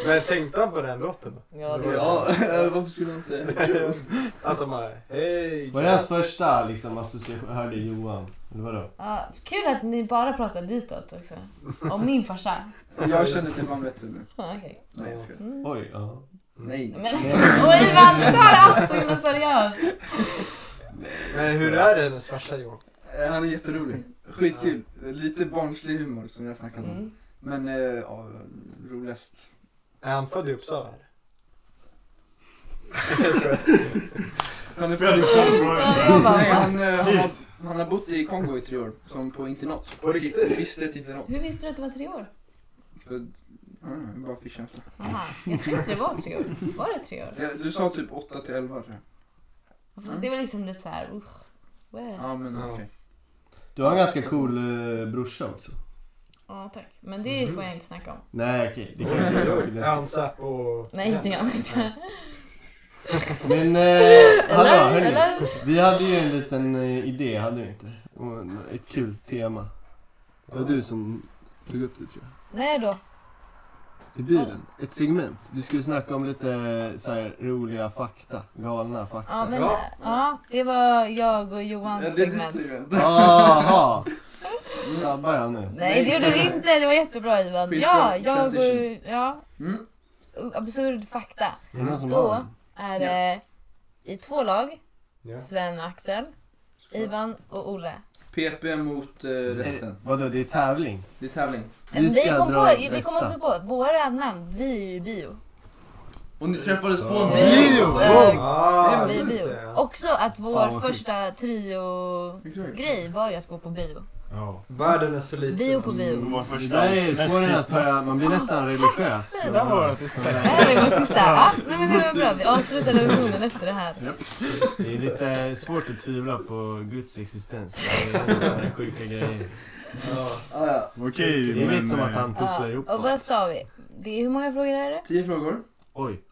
Speaker 6: Men tänkte han på den låten då?
Speaker 4: Ja, det
Speaker 3: Ja, varför skulle han säga Joe?
Speaker 6: Att han bara, hey
Speaker 5: var det hans första liksom, association? Jag hörde Johan. Eller vadå?
Speaker 4: Ja, kul att ni bara pratar ditåt också. Om min farsa.
Speaker 3: Jag känner till honom bättre nu.
Speaker 4: Ja, Okej.
Speaker 3: Nej jag skojar.
Speaker 4: Mm.
Speaker 5: Oj, ja.
Speaker 3: Nej.
Speaker 4: Men, och Ivan tar allt så himla seriöst.
Speaker 6: Men hur är det hennes farsa Johan?
Speaker 3: Eh, Han är jätterolig. Skitkul. Lite barnslig humor som jag snackat om.
Speaker 4: Mm.
Speaker 3: Men eh, ja, roligast.
Speaker 6: Är han född i Uppsala? eller? Jag skojar.
Speaker 3: Han är
Speaker 1: För jag hade
Speaker 3: född
Speaker 1: en fråga.
Speaker 4: Ja, jag bara,
Speaker 3: Nej,
Speaker 4: va?
Speaker 3: han, eh, han, har, han har bott i Kongo i tre år, som på internat. typ
Speaker 6: På riktigt?
Speaker 3: Visst ett internat.
Speaker 4: Hur visste du att det var tre år?
Speaker 3: För, mm, bara fick känsla.
Speaker 4: Aha, jag tror inte det var tre år. Var det tre år?
Speaker 3: Ja, Du sa typ 8 till 11 tror jag.
Speaker 4: Fast det var liksom lite så här, usch. wow.
Speaker 3: Ja men
Speaker 6: Ja.
Speaker 3: okej.
Speaker 5: Du har en ganska cool eh, brorsa också.
Speaker 4: Ja, tack. Men det får jag inte snacka om.
Speaker 5: Nej, okej. Det kanske jag
Speaker 6: Är
Speaker 5: finns.
Speaker 6: han Säpo och...
Speaker 4: Nej, det är han inte.
Speaker 5: Men, eh, hallå,
Speaker 4: Eller?
Speaker 5: hörni.
Speaker 4: Eller?
Speaker 5: Vi hade ju en liten eh, idé, hade vi inte? Och en- ett kul tema. Det var du som tog upp det tror jag.
Speaker 4: Nej då.
Speaker 5: I bilen. Ett segment. Vi skulle snacka om lite eh, så här, roliga fakta. Galna
Speaker 4: Ja,
Speaker 5: fakta.
Speaker 4: men,
Speaker 6: Ja.
Speaker 4: ja, det var jag och Johans
Speaker 3: Ja, det är ditt
Speaker 4: segment.
Speaker 3: segment.
Speaker 5: Aha! Sabbar jag nu?
Speaker 4: Nej, det gjorde du inte. Det var jättebra Ivan.
Speaker 3: Skitbra
Speaker 4: Ja, jag och...
Speaker 3: transition.
Speaker 4: Ja,
Speaker 3: Mm.
Speaker 4: absurd fakta.
Speaker 5: Är det någon som
Speaker 4: Då.
Speaker 5: har den?
Speaker 4: Är det i två lag.
Speaker 6: Ja.
Speaker 4: Sven och Axel, Ivan och Olle.
Speaker 3: PP mot eh,
Speaker 5: Eh,
Speaker 3: resten.
Speaker 5: Vadå, det är tävling?
Speaker 3: Det är tävling.
Speaker 4: Vi, vi,
Speaker 5: ska
Speaker 4: kom på,
Speaker 5: dra det
Speaker 4: vi kom
Speaker 5: bästa.
Speaker 4: också på våra namn. Vi är ju bio.
Speaker 8: Och ni träffades på
Speaker 6: Så.
Speaker 8: en
Speaker 4: Vi-
Speaker 8: bio!
Speaker 4: Bio!
Speaker 6: Ah,
Speaker 4: Vi
Speaker 6: just
Speaker 4: bio.
Speaker 6: det.
Speaker 4: Också att vår
Speaker 5: Fan, vad sjukt.
Speaker 4: första trio-grej
Speaker 3: Exakt.
Speaker 4: var ju att gå på bio.
Speaker 5: Ja.
Speaker 6: Världen är så liten.
Speaker 4: Bio på bio.
Speaker 1: Det var
Speaker 5: Det
Speaker 1: första,
Speaker 5: där är,
Speaker 1: näst
Speaker 5: får en att
Speaker 1: sista.
Speaker 5: börja, man blir nästan religiös.
Speaker 1: Det där var den sista.
Speaker 4: Det här är vår sista. Ja, nej, men det var bra. Vi avslutar relationen efter det här.
Speaker 5: Det är lite svårt att tvivla på Guds existens. Det är sådana sjuka grejer.
Speaker 6: Ja.
Speaker 3: Ah, ja.
Speaker 1: Okej,
Speaker 5: Det är lite
Speaker 1: men...
Speaker 5: som att
Speaker 1: eh,
Speaker 5: han pusslar ihop
Speaker 4: Ja, Ah, och vad sa vi? Det är, hur många frågor är det?
Speaker 3: Tio frågor.
Speaker 5: Oj.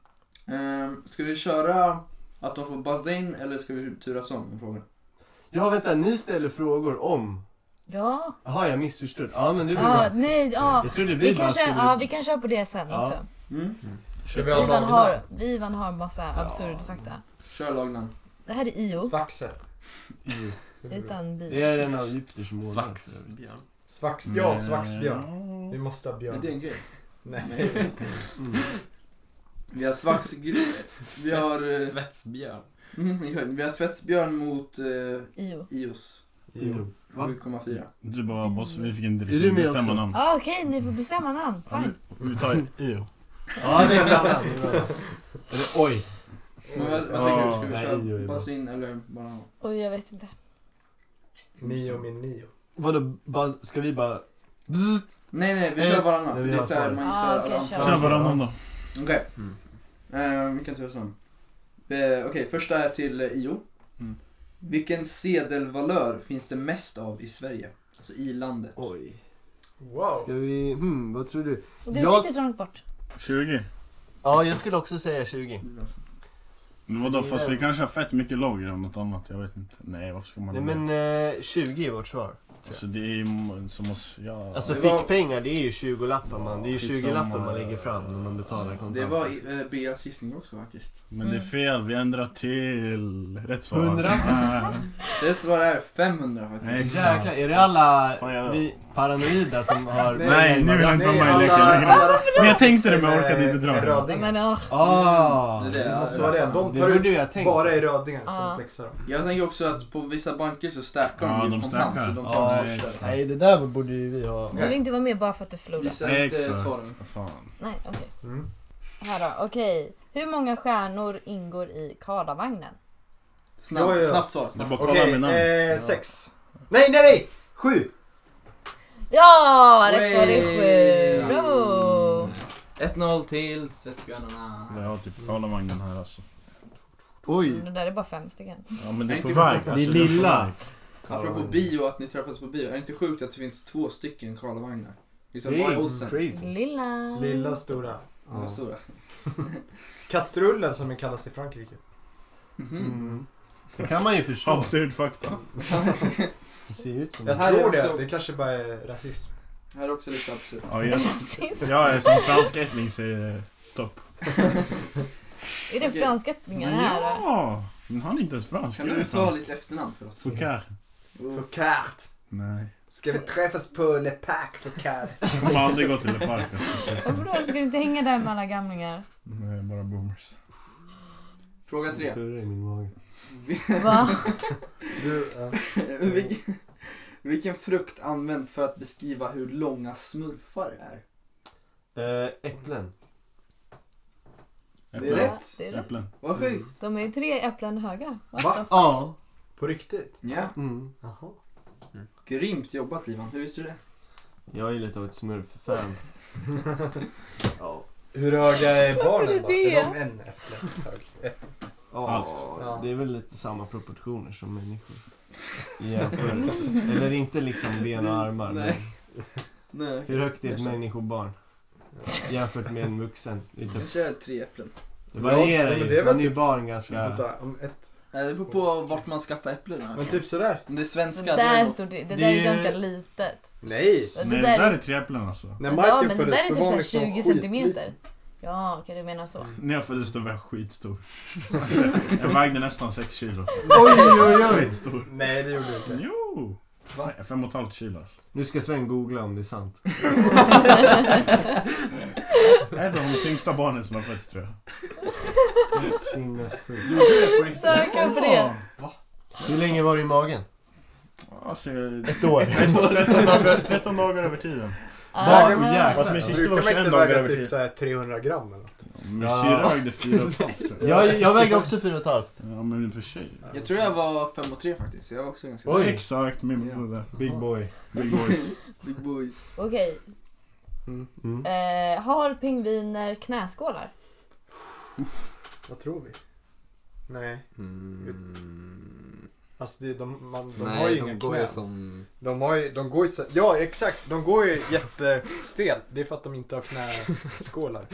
Speaker 3: Um, ska vi köra att de får buzza in eller ska vi turas om med frågorna?
Speaker 5: Ja, vänta, ni ställer frågor om...
Speaker 4: Ja.
Speaker 5: Jaha, jag missförstod. Ja, men det blir
Speaker 4: Ja,
Speaker 5: bra.
Speaker 4: nej, ja.
Speaker 5: Jag tror det
Speaker 4: Vi
Speaker 5: blir
Speaker 4: kan,
Speaker 5: bara...
Speaker 4: köra,
Speaker 5: skulle-
Speaker 4: ja, vi kan köra på det sen
Speaker 5: Ja.
Speaker 4: också.
Speaker 3: Mm.
Speaker 6: Ska vi ha
Speaker 4: Ivan har,
Speaker 6: lagnamn?
Speaker 4: Ivan har massa absurd fakta.
Speaker 3: Kör lagnamn.
Speaker 4: Det här är Io,
Speaker 6: Svaxen.
Speaker 4: utan
Speaker 5: Det
Speaker 4: bil.
Speaker 5: är en av Jupiters månar.
Speaker 1: Svax.
Speaker 5: för övrigt.
Speaker 6: Svax, ja,
Speaker 1: Mm.
Speaker 6: Svaxbjörn. Vi måste ha
Speaker 3: Är det
Speaker 6: björn.
Speaker 3: en grej?
Speaker 6: Nej.
Speaker 3: Nej.
Speaker 5: Mm.
Speaker 3: Vi har svaxgry... Vi har... eh,
Speaker 8: Svetsbjörn.
Speaker 3: Mm, exakt. vi har svetsbjörn mot eh,
Speaker 4: Io.
Speaker 3: Ios.
Speaker 5: Jo. Va?
Speaker 3: 7,4.
Speaker 1: Du bara, boss, vi fick inte
Speaker 5: Är du
Speaker 1: riktigt
Speaker 5: med
Speaker 1: bestämma
Speaker 5: också? Ah,
Speaker 1: namn.
Speaker 4: Ja, Ah, okej, ni får bestämma namn. Fine.
Speaker 1: Vi tar EU.
Speaker 5: Ja, det är bra. Det är bra. Eller, oj.
Speaker 3: Men vad, vad
Speaker 1: Ja,
Speaker 3: tänker du? Ska vi
Speaker 5: nej, Io är
Speaker 3: köra
Speaker 5: bra.
Speaker 3: buzz in eller bara...
Speaker 4: Oj, jag vet inte.
Speaker 6: Nio min nio.
Speaker 5: Vadå, bara, ska vi bara... Bzzzt.
Speaker 3: Nej, nej, vi
Speaker 5: Nej,
Speaker 3: kör varannan. För
Speaker 5: vi
Speaker 3: det är
Speaker 5: har
Speaker 3: såhär,
Speaker 5: svaret.
Speaker 3: man
Speaker 4: Ah,
Speaker 3: gissar
Speaker 4: okej,
Speaker 3: alla
Speaker 4: kör.
Speaker 3: antal.
Speaker 1: Kör varannan då.
Speaker 3: Okej.
Speaker 5: Mm.
Speaker 3: Ehm, vi kan turas om. Eh, Okej, första är till eh, Io.
Speaker 1: Mm.
Speaker 3: Vilken sedelvalör finns det mest av i Sverige? Alltså i landet.
Speaker 5: Oj. Ska
Speaker 6: Wow.
Speaker 5: vi... Hmm, vad tror du?
Speaker 4: Och du
Speaker 5: Jag-
Speaker 4: sitter så långt bort.
Speaker 1: 20.
Speaker 5: Ja, jag skulle också säga 20.
Speaker 1: Men vadå, fast vi kanske har fett mycket lager av något annat. Jag vet inte. Nej, varför ska man
Speaker 5: Nej
Speaker 1: ha det?
Speaker 5: men eh, 20 är vårt svar.
Speaker 1: Alltså det är ju m- som oss... Ja.
Speaker 5: Alltså
Speaker 3: Det var-
Speaker 5: fickpengar det är ju 20 lappar man. Det är ju 20
Speaker 1: Skitsamma.
Speaker 5: lappar man lägger fram när man betalar kontant.
Speaker 3: Det var i- eh, Beas gissning också faktiskt.
Speaker 1: men det är fel, vi ändrar till rätt svar. Alltså,
Speaker 5: 100?
Speaker 1: Nej.
Speaker 3: Rätt svar är 500
Speaker 1: Nej,
Speaker 3: faktiskt.
Speaker 5: Jäklar, är det alla
Speaker 1: Fan, jag-
Speaker 5: vi paranoida som har...
Speaker 1: Nej, nu vill jag inte vara med i leken.
Speaker 3: alla- alla
Speaker 1: Men jag tänkte det men jag orkade inte
Speaker 6: En
Speaker 1: dra det.
Speaker 6: röding.
Speaker 4: Men åh,
Speaker 5: Ah!
Speaker 3: Det är det.
Speaker 6: Så var det. De
Speaker 5: Det
Speaker 6: tar
Speaker 5: borde
Speaker 6: ut
Speaker 5: jag tänkt.
Speaker 6: bara i rödingar
Speaker 4: Ja.
Speaker 6: som flexar dem.
Speaker 3: Jag tänker också att på vissa banker så stackar
Speaker 1: Ja,
Speaker 3: de ju
Speaker 1: de
Speaker 3: kontant
Speaker 1: stackar.
Speaker 3: så de tar
Speaker 5: Ja,
Speaker 3: de största.
Speaker 5: Ah, nej, det där borde ju vi ha.
Speaker 4: du vill inte vara med bara för att du förlorar.
Speaker 3: Visa inte svaren.
Speaker 1: Exakt. Fan.
Speaker 4: Nej, okej.
Speaker 6: Mm.
Speaker 4: Här då, okej. Hur många stjärnor ingår i Karlavagnen?
Speaker 3: Snabbt,
Speaker 6: Ja, ja.
Speaker 3: snabbt svar.
Speaker 1: Det är
Speaker 3: Snabbt.
Speaker 1: bara att kolla
Speaker 6: Okej,
Speaker 1: med namn.
Speaker 6: eh, sex. Nej, nej, nej! Sju!
Speaker 4: Ja, rätt svar är
Speaker 6: Wey!
Speaker 4: sju. Bravo!
Speaker 8: 1-0 till Svetsbjörnarna.
Speaker 1: Jag har typ Karlavagnen här alltså.
Speaker 5: Oj!
Speaker 4: Mm, Det där är bara fem stycken.
Speaker 1: Ja men det är
Speaker 3: Tänk
Speaker 1: på
Speaker 3: dig-
Speaker 1: väg.
Speaker 5: Det
Speaker 1: Alltså,
Speaker 5: är
Speaker 1: den är på
Speaker 5: lilla.
Speaker 1: väg.
Speaker 3: Apropå bio, att ni träffas på bio. Är det inte sjukt att det finns två stycken Karlavagnar? Liksom,
Speaker 5: Det
Speaker 3: vad är
Speaker 5: är
Speaker 3: oddsen? Alltså,
Speaker 5: crazy.
Speaker 4: Lilla.
Speaker 6: Lilla, stora.
Speaker 3: De är stora.
Speaker 6: Kastrullen som den kallas i Frankrike.
Speaker 3: Mhm.
Speaker 5: Mm. Det kan man ju förstå.
Speaker 1: Absurd fakta.
Speaker 5: Det ser ju ut som
Speaker 6: Jag
Speaker 5: det.
Speaker 3: Här är
Speaker 6: tror det.
Speaker 3: också-
Speaker 6: Det kanske bara är rasism.
Speaker 3: Här är också lite absurt.
Speaker 1: Ja, jag,
Speaker 4: Precis.
Speaker 1: jag är som fransk ättling säger eh, stopp.
Speaker 4: Är det
Speaker 3: Okej.
Speaker 4: franska ättlingar här? då?
Speaker 1: ja! Men han är inte ens fransk.
Speaker 3: Kan
Speaker 1: jag
Speaker 3: du
Speaker 1: är
Speaker 3: uttala
Speaker 1: fransk.
Speaker 3: ditt efternamn för oss?
Speaker 1: Foucard.
Speaker 3: Oh.
Speaker 6: Foucard.
Speaker 1: Nej.
Speaker 6: Ska vi träffas på Le Pac Foucard?
Speaker 1: Kommer aldrig gå till Le Parc alltså.
Speaker 4: Varför då? Ska du inte hänga där med alla gamlingar?
Speaker 1: Nej, bara boomers.
Speaker 3: Fråga tre.
Speaker 5: Kurrar i min mage.
Speaker 4: Va?
Speaker 6: Du, eh,
Speaker 3: Vilken, vilken frukt används för att beskriva hur långa smurfar är?
Speaker 5: Eh, äpplen.
Speaker 3: Det är
Speaker 1: Äpplen.
Speaker 3: rätt.
Speaker 4: Det är rätt.
Speaker 1: Äpplen.
Speaker 3: Vad sjukt.
Speaker 4: De är tre äpplen höga. What the
Speaker 5: Va?
Speaker 4: f-
Speaker 5: Ja.
Speaker 6: på riktigt?
Speaker 3: Ja.
Speaker 5: Mm.
Speaker 6: Jaha.
Speaker 3: Grymt jobbat Ivan, hur visste du det?
Speaker 5: Jag är lite av ett smurf-fan. Ja.
Speaker 6: Hur höga är
Speaker 4: Varför
Speaker 6: barnen
Speaker 4: är
Speaker 6: då?
Speaker 4: det?
Speaker 6: Är de en äpple hög? Ett.
Speaker 1: Halvt.
Speaker 5: Ja,
Speaker 6: Ja.
Speaker 5: det är väl lite samma proportioner som människor. I jämförelse. Eller inte liksom ben och armar. Men
Speaker 3: Nej. Nej,
Speaker 5: hur högt är ett
Speaker 3: Jag kör-
Speaker 5: människobarn? Jämfört med en vuxen. Det, är
Speaker 3: Jag
Speaker 5: typ,
Speaker 3: kör tre äpplen.
Speaker 5: det varierar
Speaker 6: Ja, men
Speaker 5: ju.
Speaker 6: det är väl
Speaker 5: Man är ju
Speaker 6: typ-
Speaker 5: barn ganska...
Speaker 6: Vänta, om ett.
Speaker 3: Nej, Det beror på vart man skaffar äpplorna.
Speaker 6: Men typ sådär?
Speaker 3: Om det är
Speaker 4: Så
Speaker 3: svenska,
Speaker 4: där
Speaker 3: då-
Speaker 4: står det, det
Speaker 5: Det
Speaker 4: där är
Speaker 5: är-
Speaker 4: ganska litet.
Speaker 6: Nej!
Speaker 4: Det
Speaker 1: Nej,
Speaker 4: där
Speaker 1: det där
Speaker 4: är-
Speaker 1: är treäpplen alltså.
Speaker 6: När
Speaker 4: ja,
Speaker 6: Michael
Speaker 4: men det
Speaker 6: föddes,
Speaker 4: där är typ
Speaker 6: då var
Speaker 4: så
Speaker 6: han
Speaker 4: här
Speaker 6: liksom
Speaker 4: 20
Speaker 6: skitliten.
Speaker 4: centimeter. Ja, okej du menar så.
Speaker 1: När jag föddes då var jag skitstor. Alltså, jag vägde nästan 6 kilo.
Speaker 5: Oj, oj, oj!
Speaker 1: Skitstor.
Speaker 6: Nej, det gjorde du inte.
Speaker 1: Jo! Fe- Fem och ett halvt kilo alltså.
Speaker 5: Nu ska Sven googla om det är sant.
Speaker 1: Jag är ett av de tyngsta barnen som har fötts tror jag.
Speaker 5: Det är Sinnessjukt.
Speaker 4: Söka på det.
Speaker 1: Ja.
Speaker 5: Hur länge var du i magen?
Speaker 1: Alltså,
Speaker 9: Ett år.
Speaker 1: 13, 13, dagar, 13 dagar över tiden.
Speaker 4: Ah,
Speaker 9: Åh, jävlar.
Speaker 1: Fast min syster
Speaker 6: Brukar
Speaker 1: var
Speaker 6: man
Speaker 1: 21
Speaker 6: inte
Speaker 1: dagar
Speaker 6: väga
Speaker 1: över
Speaker 6: typ
Speaker 1: tiden.
Speaker 6: så här 300 gram eller något?
Speaker 1: Min
Speaker 9: Ja.
Speaker 1: syrra vägde 4,5 tror jag.
Speaker 9: Jag, jag vägde också fyra och ett halvt.
Speaker 1: Ja men i och för sig.
Speaker 3: Jag tror jag var 5 och 3 faktiskt. Jag var också ganska
Speaker 9: Oj.
Speaker 1: Exakt min
Speaker 3: Ja.
Speaker 1: bror.
Speaker 9: Big boy.
Speaker 1: Big boys.
Speaker 3: Big boys.
Speaker 4: Okej.
Speaker 5: Mm.
Speaker 4: Eh, har pingviner knäskålar?
Speaker 6: Vad tror vi? Nej. Alltså det, de, man, de
Speaker 10: Nej,
Speaker 6: har ju
Speaker 10: de
Speaker 6: inga
Speaker 10: går
Speaker 6: knän.
Speaker 10: ju som...
Speaker 6: De, har ju, de går ju så, Ja exakt, de går ju jättestelt. Det är för att de inte har knäskålar.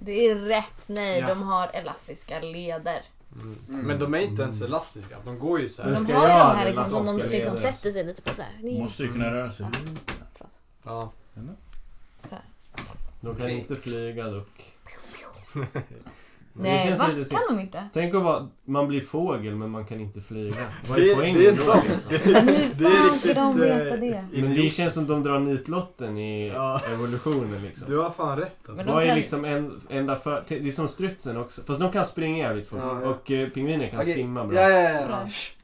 Speaker 4: Det är rätt. Nej,
Speaker 6: Ja.
Speaker 4: de har elastiska leder.
Speaker 3: Mm.
Speaker 6: Men de är inte ens elastiska. De går ju så
Speaker 9: Men
Speaker 6: här.
Speaker 9: ska
Speaker 4: De har ju
Speaker 9: jag ha
Speaker 4: de här
Speaker 9: det
Speaker 4: liksom, som de
Speaker 9: elastiska
Speaker 4: liksom
Speaker 9: leder?
Speaker 4: sätter sig lite på så här.
Speaker 1: Måste ju kunna röra sig.
Speaker 6: Ja.
Speaker 5: De kan inte flyga dock.
Speaker 4: Nej,
Speaker 5: känns
Speaker 4: va?
Speaker 5: lite så.
Speaker 4: Kan de inte?
Speaker 5: Tänk att vara, man blir fågel men man kan inte flyga. Vad
Speaker 6: Det
Speaker 5: är
Speaker 6: är-
Speaker 5: poängen
Speaker 6: det är
Speaker 5: då,
Speaker 6: sant.
Speaker 5: liksom?
Speaker 4: Men hur
Speaker 6: Det är
Speaker 4: fan ska de
Speaker 6: riktigt, eh,
Speaker 4: veta det?
Speaker 5: Men det känns som de drar nitlotten i
Speaker 6: Ja.
Speaker 5: evolutionen liksom.
Speaker 6: Du har fan rätt alltså.
Speaker 4: Men
Speaker 5: Vad
Speaker 4: de
Speaker 5: är
Speaker 4: kan-
Speaker 5: liksom en, enda för... Det är som strutsen också. Fast de kan springa jävligt fort.
Speaker 3: Ja, ja.
Speaker 5: Och eh, pingviner kan
Speaker 3: Okej.
Speaker 5: simma bra.
Speaker 3: Ja, ja, ja, ja.
Speaker 4: Fräsch.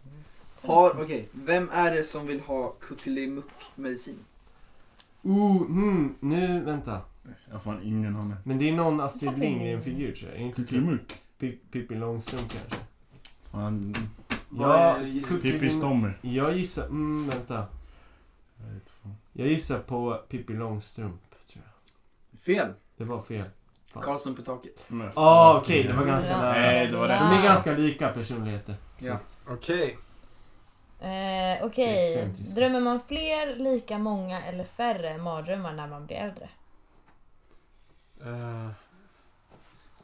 Speaker 3: Har, okej. Vem är det som vill ha kuckelimuck-medicin?
Speaker 5: Oh, hmm, nu vänta.
Speaker 1: Jag har fan ingen aning.
Speaker 5: Men det är någon Astrid
Speaker 4: Fucking-
Speaker 5: Lindgren-figur tror jag. Är det inte typ
Speaker 1: Kuckelimuck.
Speaker 5: Pi- Pippi Långstrump kanske?
Speaker 1: Fan.
Speaker 5: Ja,
Speaker 1: Pippis Tommy.
Speaker 5: Jag gissar... Mm, vänta.
Speaker 1: Jag vet fan.
Speaker 5: Jag gissar på Pippi Långstrump tror jag.
Speaker 3: Fel.
Speaker 5: Det var fel. Fan.
Speaker 3: Karlsson på taket.
Speaker 1: Men
Speaker 5: Ah,
Speaker 1: fan,
Speaker 5: okej, det var ganska
Speaker 4: Elastiska
Speaker 5: nära.
Speaker 1: Nej, det var rätt.
Speaker 5: De
Speaker 4: leder.
Speaker 5: är ganska lika personligheter. Så
Speaker 3: Ja.
Speaker 5: att-
Speaker 6: Okej.
Speaker 4: Eh, Okej,
Speaker 5: Excentriska.
Speaker 4: drömmer man fler, lika många eller färre mardrömmar när man blir äldre?
Speaker 6: Eh,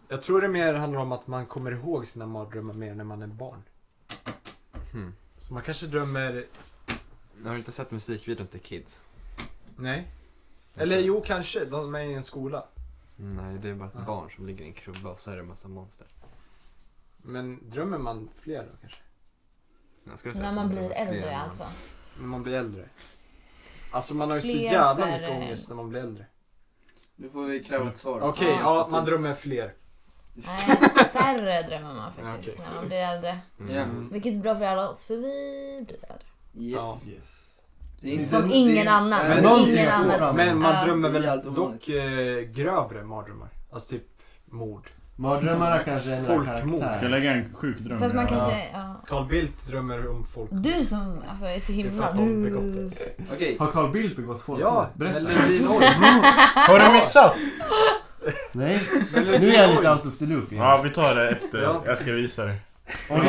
Speaker 6: jag tror det mer handlar om att man kommer ihåg sina mardrömmar mer när man är barn.
Speaker 10: Hmm.
Speaker 6: Så man kanske drömmer...
Speaker 10: Har du inte sett musikvideon till Kids?
Speaker 6: Nej. Eller jo, kanske. De är i en skola.
Speaker 10: Nej, det är bara ett
Speaker 6: Ja.
Speaker 10: barn som ligger i en krubba och så är det en massa monster.
Speaker 6: Men drömmer man fler då kanske?
Speaker 10: Jag skulle säga
Speaker 4: När
Speaker 10: att
Speaker 4: man
Speaker 10: drömmer
Speaker 4: blir
Speaker 10: fler
Speaker 4: äldre
Speaker 10: än man-
Speaker 4: alltså.
Speaker 6: När man blir äldre. Alltså man har ju så
Speaker 4: Fler,
Speaker 6: jävla
Speaker 4: färre.
Speaker 6: mycket ångest när man blir äldre.
Speaker 3: Nu får vi kräva ett svar.
Speaker 6: Okej,
Speaker 4: Ja,
Speaker 6: ja, man drömmer fler.
Speaker 4: Nej, färre drömmer man faktiskt
Speaker 6: Okej.
Speaker 4: när man blir äldre.
Speaker 3: Ja.
Speaker 4: Vilket är bra för alla oss, för vi blir äldre.
Speaker 3: Yes.
Speaker 5: Yes.
Speaker 3: Det är inte-
Speaker 4: Som
Speaker 3: det är-
Speaker 4: ingen annan.
Speaker 3: Nej,
Speaker 6: Men
Speaker 3: det är
Speaker 5: någonting
Speaker 4: ingen
Speaker 5: att få
Speaker 4: annan.
Speaker 5: fram.
Speaker 6: Men man
Speaker 4: Ja.
Speaker 6: drömmer
Speaker 3: Det är allt
Speaker 6: väl
Speaker 3: ovanligt.
Speaker 6: dock eh, grövre mardrömmar. Alltså typ mord.
Speaker 5: Mardrömmarna kanske ändrar
Speaker 6: Folkmord.
Speaker 1: Ska jag
Speaker 5: karaktär.
Speaker 1: lägga en sjukdröm?
Speaker 4: För att man
Speaker 1: Ja.
Speaker 4: kanske... Ja.
Speaker 6: Carl Bildt drömmer om folk.
Speaker 4: Du som alltså, är så
Speaker 6: Det är för
Speaker 4: himla... Mm.
Speaker 6: att de begått det.
Speaker 3: Okej.
Speaker 5: Har Carl Bildt begått folkmord?
Speaker 6: Ja,
Speaker 5: Berätta.
Speaker 6: Melodin Oj.
Speaker 1: Har du missat?
Speaker 5: Nej,
Speaker 6: Melodin
Speaker 5: nu är jag lite
Speaker 6: Oj.
Speaker 5: out of the loop igen.
Speaker 1: Ja, vi tar det efter.
Speaker 6: Ja.
Speaker 1: Jag ska visa dig.
Speaker 5: Oj,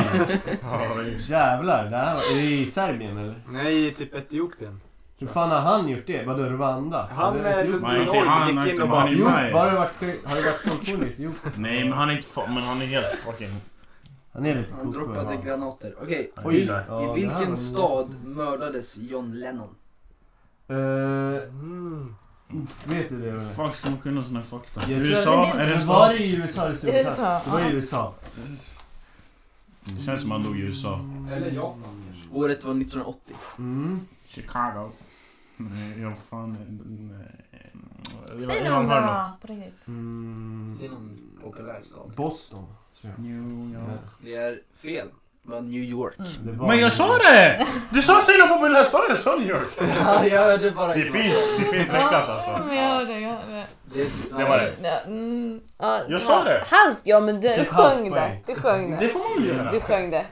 Speaker 1: Ja, vad just.
Speaker 5: jävlar. Det här var, är det i Serbien eller?
Speaker 6: Nej, typ Etiopien.
Speaker 5: Hur fan har han gjort det? Vadå Rwanda?
Speaker 6: Han
Speaker 5: Eller
Speaker 6: med
Speaker 5: Etiopien?
Speaker 1: Nej,
Speaker 6: Ludvig
Speaker 1: inte han,
Speaker 6: Norg gick in
Speaker 1: inte
Speaker 6: och bara...
Speaker 1: han.
Speaker 5: Jo,
Speaker 1: Nej.
Speaker 5: var det varit, har det varit folkmord i Etiopien?
Speaker 1: Nej, men han är inte fa- Men han är helt fucking...
Speaker 5: Han är lite
Speaker 3: Han
Speaker 5: koko.
Speaker 3: droppade
Speaker 5: ja.
Speaker 3: granater. Okej.
Speaker 1: Han
Speaker 5: Oj,
Speaker 1: är där.
Speaker 5: ja, det här
Speaker 3: I vilken
Speaker 5: var-
Speaker 3: stad mördades John Lennon?
Speaker 5: Eh,
Speaker 6: Mm.
Speaker 5: vet du det?
Speaker 1: Hur
Speaker 5: Rune?
Speaker 1: fan ska man kunna såna här fakta?
Speaker 5: Jag tror-
Speaker 1: USA?
Speaker 4: Men det-
Speaker 1: Är det en
Speaker 5: Men var
Speaker 1: stad?
Speaker 5: det i USA
Speaker 4: I
Speaker 5: eller
Speaker 4: USA,
Speaker 5: Det var
Speaker 4: ja.
Speaker 5: i USA.
Speaker 1: Det känns som han dog i USA.
Speaker 6: Eller Japan kanske.
Speaker 11: Året var 1980.
Speaker 5: Mm.
Speaker 1: Chicago. Nej, jag fan... eh, Nej.
Speaker 4: Säg
Speaker 1: Någon
Speaker 4: någon
Speaker 1: har något.
Speaker 4: då! På riktigt.
Speaker 5: Mm.
Speaker 10: Det är någon populär stad.
Speaker 5: Boston, tror jag.
Speaker 1: New York.
Speaker 10: Det är fel.
Speaker 11: Det var New York.
Speaker 4: Mm.
Speaker 5: Det var-
Speaker 1: Men jag sa det! Du sa Sailor Bob men jag sa jag sa New York.
Speaker 10: Ja, jag hörde bara
Speaker 1: Det finns, det finns räckat
Speaker 4: Ja,
Speaker 1: alltså.
Speaker 4: men jag hörde, jag hörde.
Speaker 1: Det var rätt.
Speaker 4: Ja, mm, ja,
Speaker 1: Jag sa det.
Speaker 4: Halvt, ja men du
Speaker 5: Ett
Speaker 4: sjöng det.
Speaker 5: halvt poäng.
Speaker 4: Du sjöng
Speaker 1: Det
Speaker 4: det.
Speaker 1: får man väl göra?
Speaker 4: Du sjöng det.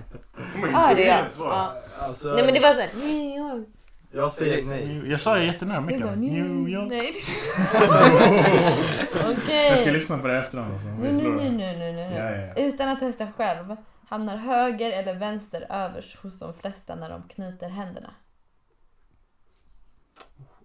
Speaker 1: Får man
Speaker 4: Ja,
Speaker 1: inte-
Speaker 4: det
Speaker 1: är
Speaker 4: är
Speaker 1: ett svar.
Speaker 4: ja.
Speaker 6: Alltså,
Speaker 4: Nej men det var såhär, New York.
Speaker 6: Jag säger nej.
Speaker 1: Jag sa det jättenära
Speaker 4: Det var
Speaker 1: micken. New
Speaker 4: New
Speaker 1: York.
Speaker 4: Nej.
Speaker 1: Jag ska
Speaker 4: Okej.
Speaker 1: lyssna på det efterhand alltså.
Speaker 4: Nu, nu, nu, nu, nu, nu.
Speaker 1: Ja, ja, ja.
Speaker 4: Utan att testa själv. Hamnar höger eller vänster överst hos de flesta när de knyter händerna?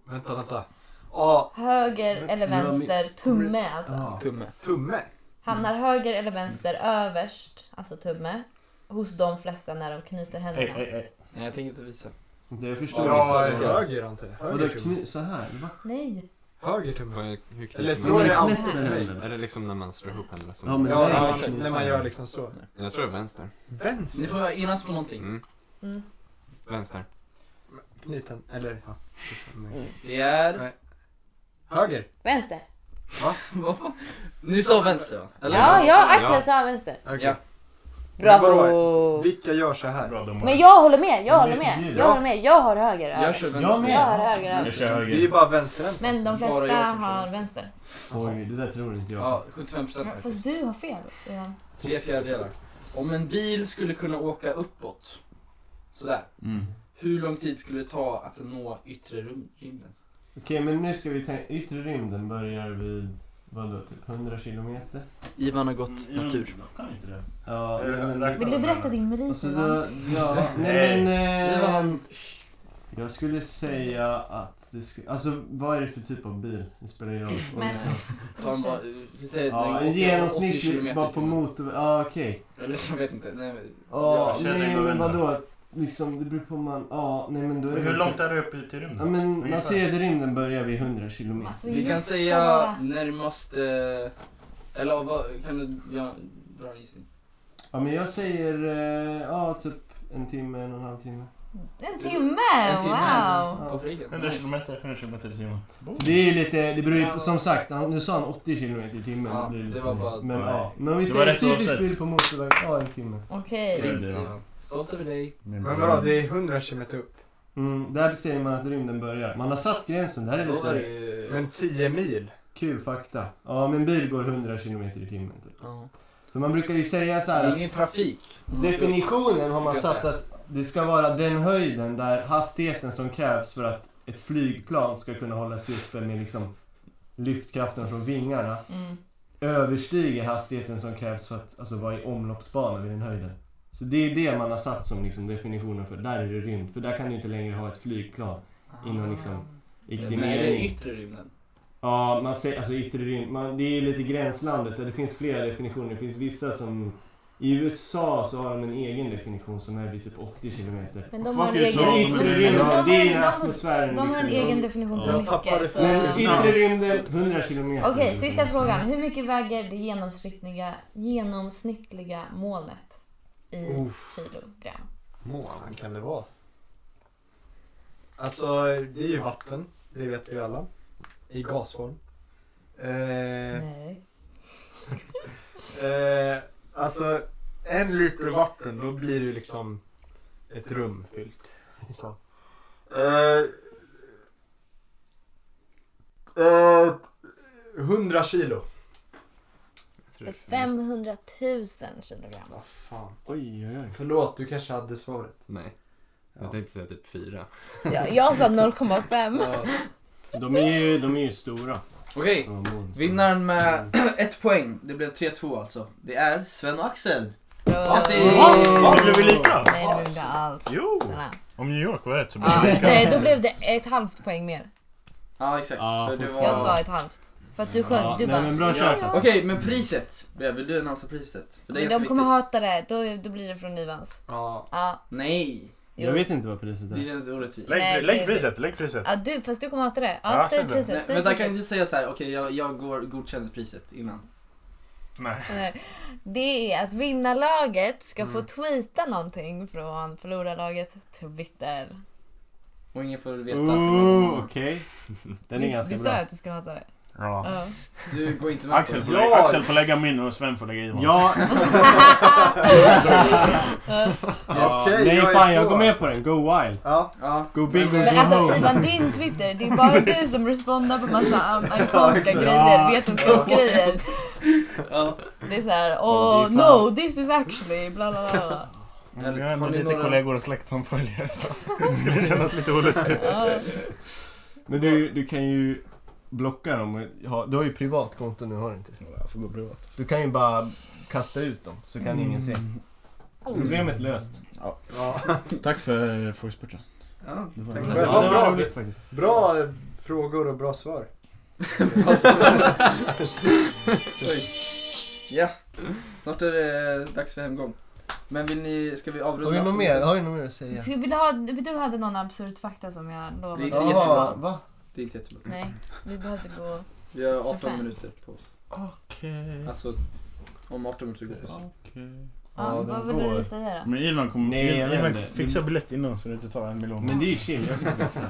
Speaker 6: Vänta, vänta. Ja,
Speaker 4: Höger
Speaker 5: Men-
Speaker 4: eller
Speaker 5: men vad men-
Speaker 4: vänster tumme alltså.
Speaker 5: Ja.
Speaker 11: Tumme.
Speaker 6: tumme.
Speaker 4: Hamnar höger eller vänster överst, alltså tumme, hos de flesta när de knyter
Speaker 1: Ey,
Speaker 4: händerna?
Speaker 1: ey, ey.
Speaker 11: Nej, jag tänker inte visa.
Speaker 5: Det jag förstår.
Speaker 6: Ja, eh,
Speaker 5: inte.
Speaker 6: höger antar jag.
Speaker 5: Vadå,
Speaker 6: Höger tumme.
Speaker 5: kny- så här? Va?
Speaker 4: Nej.
Speaker 6: Höger tumme.
Speaker 10: Hur knäpper
Speaker 6: Eller
Speaker 10: man-
Speaker 6: så är det alltid.
Speaker 5: Knäpper händerna.
Speaker 10: Är det liksom när man slår ihop händerna? Som...
Speaker 5: Ja, men
Speaker 6: Ja,
Speaker 5: det är
Speaker 6: ja,
Speaker 5: liksom-
Speaker 6: när man gör liksom så.
Speaker 10: Jag tror det är vänster.
Speaker 11: Ni
Speaker 6: Vänster?
Speaker 11: får enas på någonting.
Speaker 10: Mm.
Speaker 4: Mm.
Speaker 10: Vänster.
Speaker 6: Knyten, eller? Ja. Nej.
Speaker 11: Det är...
Speaker 6: Nej. Höger?
Speaker 4: Vänster.
Speaker 11: Ni sa vänster va? Eller?
Speaker 4: Ja, jag
Speaker 10: vänster,
Speaker 4: Axel
Speaker 10: ja.
Speaker 4: sa vänster.
Speaker 6: Okej.
Speaker 11: Ja.
Speaker 6: Vadå?
Speaker 4: Bravo!
Speaker 6: Vilka gör så här?
Speaker 1: Bra domare.
Speaker 12: Men jag håller med, jag
Speaker 5: Men
Speaker 12: håller
Speaker 5: det är
Speaker 12: med.
Speaker 5: ju-
Speaker 12: Jag håller med, jag har höger
Speaker 3: Jag
Speaker 12: över.
Speaker 3: kör
Speaker 5: Jag
Speaker 3: vänster.
Speaker 5: med.
Speaker 12: Jag har höger
Speaker 1: Jag
Speaker 12: över.
Speaker 1: kör
Speaker 6: Vi är
Speaker 1: höger.
Speaker 6: bara vänsterhänt.
Speaker 4: Men de
Speaker 3: Bara jag
Speaker 4: flesta
Speaker 3: som kör
Speaker 4: har
Speaker 3: vänster.
Speaker 4: vänster.
Speaker 6: liksom-
Speaker 5: Oj, det där tror inte jag.
Speaker 3: Ja, 75% faktiskt.
Speaker 4: Fast du har fel. Göran.
Speaker 3: Tre fjärdedelar. Om en bil skulle kunna åka uppåt, sådär,
Speaker 1: Mm.
Speaker 3: hur lång tid skulle det ta att nå yttre rum- rymden?
Speaker 5: Okej, men nu ska vi tänka. Yttre rymden börjar vid vadå, typ 100 kilometer?
Speaker 3: Ivan har
Speaker 1: Mm, jag kan inte det.
Speaker 5: Ja,
Speaker 1: Eller,
Speaker 5: men...
Speaker 1: räkna
Speaker 4: Vill du
Speaker 1: med det.
Speaker 4: berätta din
Speaker 5: Och
Speaker 4: merit
Speaker 5: så
Speaker 4: nu,
Speaker 5: då,
Speaker 4: va?
Speaker 5: ja, nej men... Eh,
Speaker 3: Ivan,
Speaker 5: jag skulle säga att det skulle... Alltså vad är det för typ av bil? Det spelar ingen roll.
Speaker 4: Men-
Speaker 3: ta en bara, vi säger att
Speaker 5: Ja,
Speaker 3: den
Speaker 5: en
Speaker 3: åker 80
Speaker 5: genomsnittlig
Speaker 3: kilometer
Speaker 5: bara på
Speaker 3: i timmen.
Speaker 5: motorväg. Ja, okej.
Speaker 3: Eller jag vet inte. Nej, men-
Speaker 5: Ja,
Speaker 1: Jag känner
Speaker 5: nej
Speaker 1: ändå
Speaker 5: men
Speaker 1: ändå.
Speaker 5: vadå? Liksom, det beror på om man... Ja, nej men då är
Speaker 1: Men
Speaker 5: det...
Speaker 1: hur
Speaker 5: typ-
Speaker 1: långt är det upp till
Speaker 5: Ja
Speaker 1: rymden?
Speaker 5: men man
Speaker 1: Ungefär.
Speaker 5: ser att rymden börjar vid 100 kilometer.
Speaker 4: Alltså,
Speaker 3: Vi kan
Speaker 4: gissa
Speaker 3: säga
Speaker 4: bara.
Speaker 3: närmast... eh, Eller vad, kan du ja, dra en gissning?
Speaker 5: Ja men jag säger, eh, ja typ en timme, en och en halv timme.
Speaker 4: En timme!
Speaker 3: En timme.
Speaker 4: Wow!
Speaker 3: På flyget?
Speaker 1: 100
Speaker 3: Nice.
Speaker 1: kilometer, 100 kilometer i timmen.
Speaker 5: Det är ju lite, det beror ju på, som sagt, han- nu sa han 80 kilometer i timmen.
Speaker 3: Ja,
Speaker 5: blir
Speaker 3: det
Speaker 5: lite
Speaker 3: var
Speaker 5: mer.
Speaker 3: bara-
Speaker 5: Men ja, men vi
Speaker 1: Det var
Speaker 5: säger
Speaker 1: rätt
Speaker 5: typiskt
Speaker 1: oavsett.
Speaker 5: bil på motorväg, ja en timme.
Speaker 4: Okej.
Speaker 3: Grymt
Speaker 1: Ja.
Speaker 3: Ivan. Stolt över dig.
Speaker 13: Men vadå, det är 100 km upp.
Speaker 5: Mm, där ser man att rymden börjar. Man har satt gränsen, det här är
Speaker 3: Då var det
Speaker 5: lite
Speaker 3: ju...
Speaker 13: Men 10 mil?
Speaker 5: kul fakta. Ja men bil går 100 kilometer i timmen. Typ.
Speaker 3: Ja.
Speaker 5: För man brukar ju säga så
Speaker 3: Det
Speaker 5: här
Speaker 3: är
Speaker 5: att
Speaker 3: ingen trafik.
Speaker 5: definitionen har man satt att det ska vara den höjden där hastigheten som krävs för att ett flygplan ska kunna hålla sig uppe med liksom lyftkraften från vingarna
Speaker 4: Mm.
Speaker 5: överstiger hastigheten som krävs för att alltså, vara i omloppsbana vid den höjden. Så det är det man har satt som liksom, definitionen för, där är det rymd. För där kan du inte längre ha ett flygplan i någon liksom, riktig
Speaker 3: Men är Mm. det
Speaker 5: mening.
Speaker 3: yttre rymden?
Speaker 5: Ja, man ser, alltså yttre rymd, man, det är lite gränslandet där det finns flera definitioner. Det finns vissa som, i USA så har de en egen definition som är vid typ 80 kilometer.
Speaker 12: Men de
Speaker 1: Fuck
Speaker 12: har en
Speaker 1: you,
Speaker 12: egen...
Speaker 1: så har de
Speaker 5: Men
Speaker 1: en
Speaker 12: men-
Speaker 5: yttre
Speaker 1: egen-
Speaker 5: rymden,
Speaker 4: Men de
Speaker 5: det
Speaker 4: har- de
Speaker 5: är ju
Speaker 4: har-
Speaker 5: atmosfären
Speaker 4: De har en
Speaker 5: liksom.
Speaker 4: egen definition på
Speaker 5: Jag
Speaker 4: mycket. Så...
Speaker 5: Men
Speaker 4: Okej,
Speaker 5: yttre rymden, 100 kilometer.
Speaker 4: sista frågan. Hur mycket väger det genomsnittliga, genomsnittliga molnet i kilogram?
Speaker 13: Mål, vad kan det vara? Alltså, det är ju vatten. Det vet vi alla. I gasform. Eh,
Speaker 4: Nej.
Speaker 13: eh, alltså, en liter vatten, då blir det ju liksom ett rum fyllt. Så. Eh, eh, 100 kilo.
Speaker 14: Jag
Speaker 12: Det är
Speaker 14: tror det är
Speaker 12: 500 000 kilogram.
Speaker 13: Vad fan.
Speaker 5: Oj, oj, oj.
Speaker 13: Förlåt, du kanske hade svaret.
Speaker 14: Nej.
Speaker 13: Ja.
Speaker 14: Jag tänkte säga typ fyra.
Speaker 4: Ja, jag sa 0,5.
Speaker 5: De är ju, de är ju stora.
Speaker 3: Okej,
Speaker 5: de här molnen.
Speaker 7: Vinnaren med ett poäng, det blev 3-2 alltså. Det är Sven och Axel.
Speaker 4: Nej,
Speaker 1: Va? Va? Blev vi lika?
Speaker 4: det blev inte alls.
Speaker 1: Jo!
Speaker 4: Snälla.
Speaker 1: Om New York var rätt så blev
Speaker 4: Ja,
Speaker 1: vi
Speaker 4: Ah, nej,
Speaker 1: lika.
Speaker 4: då blev det ett halvt poäng mer.
Speaker 7: Ja exakt.
Speaker 5: Ja,
Speaker 7: för det
Speaker 5: fortfarande.
Speaker 4: Jag
Speaker 7: var...
Speaker 4: sa ett halvt. För att du sjöng,
Speaker 5: Ja,
Speaker 4: du
Speaker 5: nej,
Speaker 4: bara...
Speaker 5: men bra kört alltså.
Speaker 7: Okej, men priset. Bea, Vill du annonsa priset? För det är
Speaker 4: Men
Speaker 7: så
Speaker 4: de kommer
Speaker 7: viktigt.
Speaker 4: hata det, då, då blir det från Ivans.
Speaker 13: Ja.
Speaker 4: Ja,
Speaker 3: nej.
Speaker 4: jo.
Speaker 5: Jag vet inte vad priset
Speaker 3: Det
Speaker 5: är.
Speaker 3: känns orättvist.
Speaker 4: Nej,
Speaker 1: Lägg,
Speaker 4: det-
Speaker 1: lägg priset, lägg priset.
Speaker 4: Ja, du, fast du kommer hata det. Ja,
Speaker 1: Ja,
Speaker 4: säg
Speaker 1: säg det.
Speaker 4: priset.
Speaker 3: Nej,
Speaker 4: Säg
Speaker 3: vänta,
Speaker 4: priset.
Speaker 3: kan du säga så här? okej jag, jag går, godkänner priset innan.
Speaker 1: Nej.
Speaker 4: Nej. Eh, Det är att vinnarlaget ska
Speaker 5: Mm.
Speaker 4: få tweeta någonting från förlorarlaget Twitter.
Speaker 3: Och ingen får veta att det
Speaker 5: Ooh,
Speaker 3: var
Speaker 5: Okej. Den är
Speaker 4: Vi,
Speaker 5: ganska
Speaker 4: vi sa ju
Speaker 5: bra.
Speaker 4: att du skulle hata det.
Speaker 1: Ja.
Speaker 4: Ja.
Speaker 7: Du går inte med
Speaker 1: Axel
Speaker 7: på
Speaker 1: får,
Speaker 7: det.
Speaker 1: lägga, Axel får lägga min och Sven får lägga Ivans.
Speaker 5: Ja, ja,
Speaker 13: Okej,
Speaker 5: nej
Speaker 13: jag är
Speaker 5: fan
Speaker 13: på.
Speaker 5: jag går
Speaker 6: alltså.
Speaker 5: med på den. Go wild.
Speaker 13: Ja.
Speaker 7: Ja.
Speaker 5: Go big or
Speaker 4: Men
Speaker 5: go
Speaker 4: alltså
Speaker 5: home.
Speaker 4: Ivan, din Twitter, det är bara du som respondar på massa um, amerikanska
Speaker 5: exakt.
Speaker 4: grejer,
Speaker 5: Ja.
Speaker 4: vetenskapsgrejer.
Speaker 7: Ja.
Speaker 4: Det är såhär,
Speaker 5: Ja,
Speaker 4: oh
Speaker 5: det är fan.
Speaker 4: no, this is actually bla bla bla, bla.
Speaker 1: Men Mm, Jag
Speaker 7: Har
Speaker 1: har ändå
Speaker 7: ni
Speaker 1: lite
Speaker 7: några-
Speaker 1: kollegor och släkt som följer så det skulle kännas lite olustigt.
Speaker 4: Ja.
Speaker 5: Men du, du kan ju blocka dem. och ha- Du har ju privat konto nu har du inte?
Speaker 1: Jag får gå privat.
Speaker 5: Du kan ju bara kasta ut dem så kan ingen se.
Speaker 1: Mm.
Speaker 5: Problemet löst.
Speaker 1: Tack för frågesporten.
Speaker 7: Ja.
Speaker 1: Det var
Speaker 13: Tack
Speaker 1: bra.
Speaker 13: själv.
Speaker 5: Ja, det var
Speaker 13: bra.
Speaker 5: roligt faktiskt.
Speaker 13: Bra frågor och bra svar.
Speaker 7: Oj. Ja. Snart är det dags för hemgång. Men vill ni, ska vi avrunda?
Speaker 5: Har vi något mer? Har vi något mer att säga?
Speaker 4: Ska- Vill du, ha, vill du hade någon absurd fakta som jag
Speaker 7: Det är
Speaker 4: lovade?
Speaker 7: inte jättebra.
Speaker 5: va?
Speaker 7: Det är inte jättebra.
Speaker 4: Nej, vi behövde gå...
Speaker 7: Vi har 18
Speaker 4: 25.
Speaker 7: minuter på oss.
Speaker 5: Mm.
Speaker 1: Okej.
Speaker 7: Alltså, om 18 minuter går det på oss.
Speaker 1: okej.
Speaker 4: Ja,
Speaker 5: Ja,
Speaker 4: vad
Speaker 5: den
Speaker 4: ville
Speaker 5: går.
Speaker 4: du säga då?
Speaker 1: Men Ivan kommer...
Speaker 5: Nej, jag vet
Speaker 1: Ivan
Speaker 5: inte.
Speaker 1: fixar biljett innan så du inte tar en miljon.
Speaker 5: Men det är ju chill. jag kan fixa.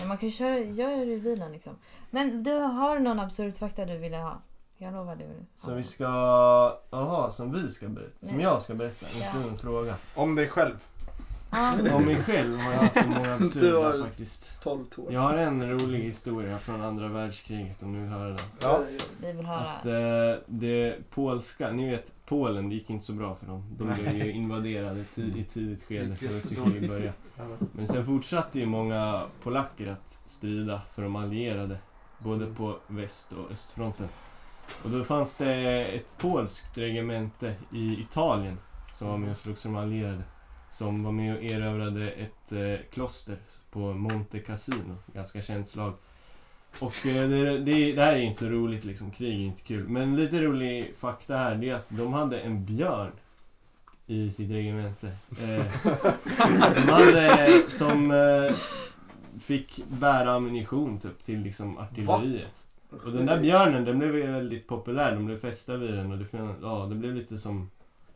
Speaker 4: Ja, man kan ju köra, gör det i bilen liksom. Men du, har du någon absurd fakta du ville ha? Jag lovar du.
Speaker 5: Som vi ska... Jaha, som vi ska berätta. Som
Speaker 4: Nej.
Speaker 5: jag ska berätta,
Speaker 4: Ja.
Speaker 5: inte en fråga.
Speaker 6: Om dig själv.
Speaker 4: Ja.
Speaker 5: Om mig själv har jag haft så många
Speaker 7: Du har-
Speaker 5: absurda faktiskt.
Speaker 7: 12 tår.
Speaker 5: Jag har en rolig historia från andra världskriget om ni vill höra den.
Speaker 6: Ja.
Speaker 4: Vi vill
Speaker 5: Att
Speaker 4: höra.
Speaker 5: eh, det polska, ni vet Polen, det gick inte så bra för dem. De blev ju invaderade ti- i tidigt skede,
Speaker 6: Gick
Speaker 5: för det skulle
Speaker 6: jättedåligt.
Speaker 5: ju börja. Men sen fortsatte ju många polacker att strida för de allierade, både på väst och östfronten. Och då fanns det ett polskt regemente i Italien som var med och slogs för de allierade. Som var med och erövrade ett eh, kloster på Monte Cassino, ganska känt slag. Och eh, det, det, det här är ju inte så roligt liksom, krig är inte kul. Men lite rolig fakta här, det är att de hade en björn i sitt regemente. Eh, de hade som eh, fick bära ammunition typ, till liksom, artilleriet. Och den där björnen den blev ju väldigt populär, de blev fästa vid den och det, fin- ja, det blev lite som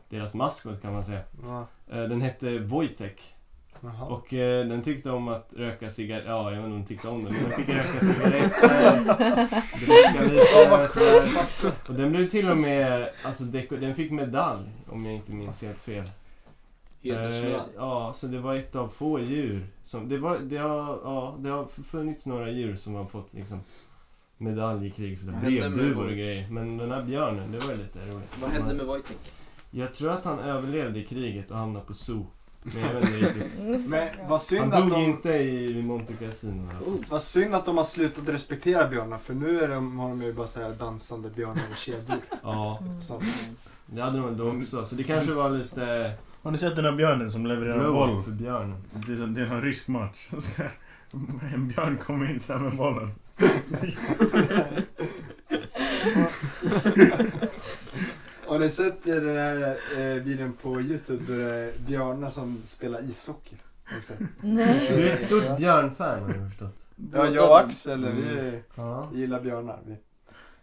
Speaker 5: deras maskot kan man säga.
Speaker 6: Ja.
Speaker 5: Eh, den hette Wojtek.
Speaker 6: Jaha.
Speaker 5: Och eh, den tyckte om att röka cigaretter. Ja, jag vet inte om den tyckte om det, men den fick röka cigaretter. dricka lite sådär. Och den blev till och med, alltså deko- den fick medalj om jag inte minns helt fel. Eh, ja, så det var ett av få djur. Som, det, var, det, har, ja, det har funnits några djur som har fått liksom medalj i krig, sådär,
Speaker 3: Vad hände med
Speaker 5: brevduvor
Speaker 3: vår-
Speaker 5: och grejer. Men den här björnen, det var ju lite roligt.
Speaker 7: Vad hände med Wojtek?
Speaker 5: Jag tror att han överlevde i kriget och hamnade på zoo. Men jag vet inte riktigt.
Speaker 4: Just det.
Speaker 6: Men vad
Speaker 5: Han
Speaker 6: synd, att
Speaker 5: dog
Speaker 6: de,
Speaker 5: inte i Monte Cassino.
Speaker 6: vad synd att de har slutat respektera björnar för nu är de, har de ju bara så här dansande björnar i kedjor.
Speaker 5: Ja,
Speaker 4: Mm.
Speaker 6: Som,
Speaker 5: det hade de väl då också. Så det kanske var lite
Speaker 1: Har ni sett den där björnen som levererar boll?
Speaker 5: blow för björnen.
Speaker 1: Det är, som- det är någon rysk match. Så ska en björn komma in så här med bollen.
Speaker 6: har ni sett i den här eh, videon på Youtube då det är björnar som spelar ishockey? Också.
Speaker 4: Nej.
Speaker 5: Du är ett stort björnfan har jag förstått.
Speaker 6: Ja, jag och Axel
Speaker 5: Mm.
Speaker 6: vi
Speaker 5: Ja.
Speaker 6: gillar björnar. Vi.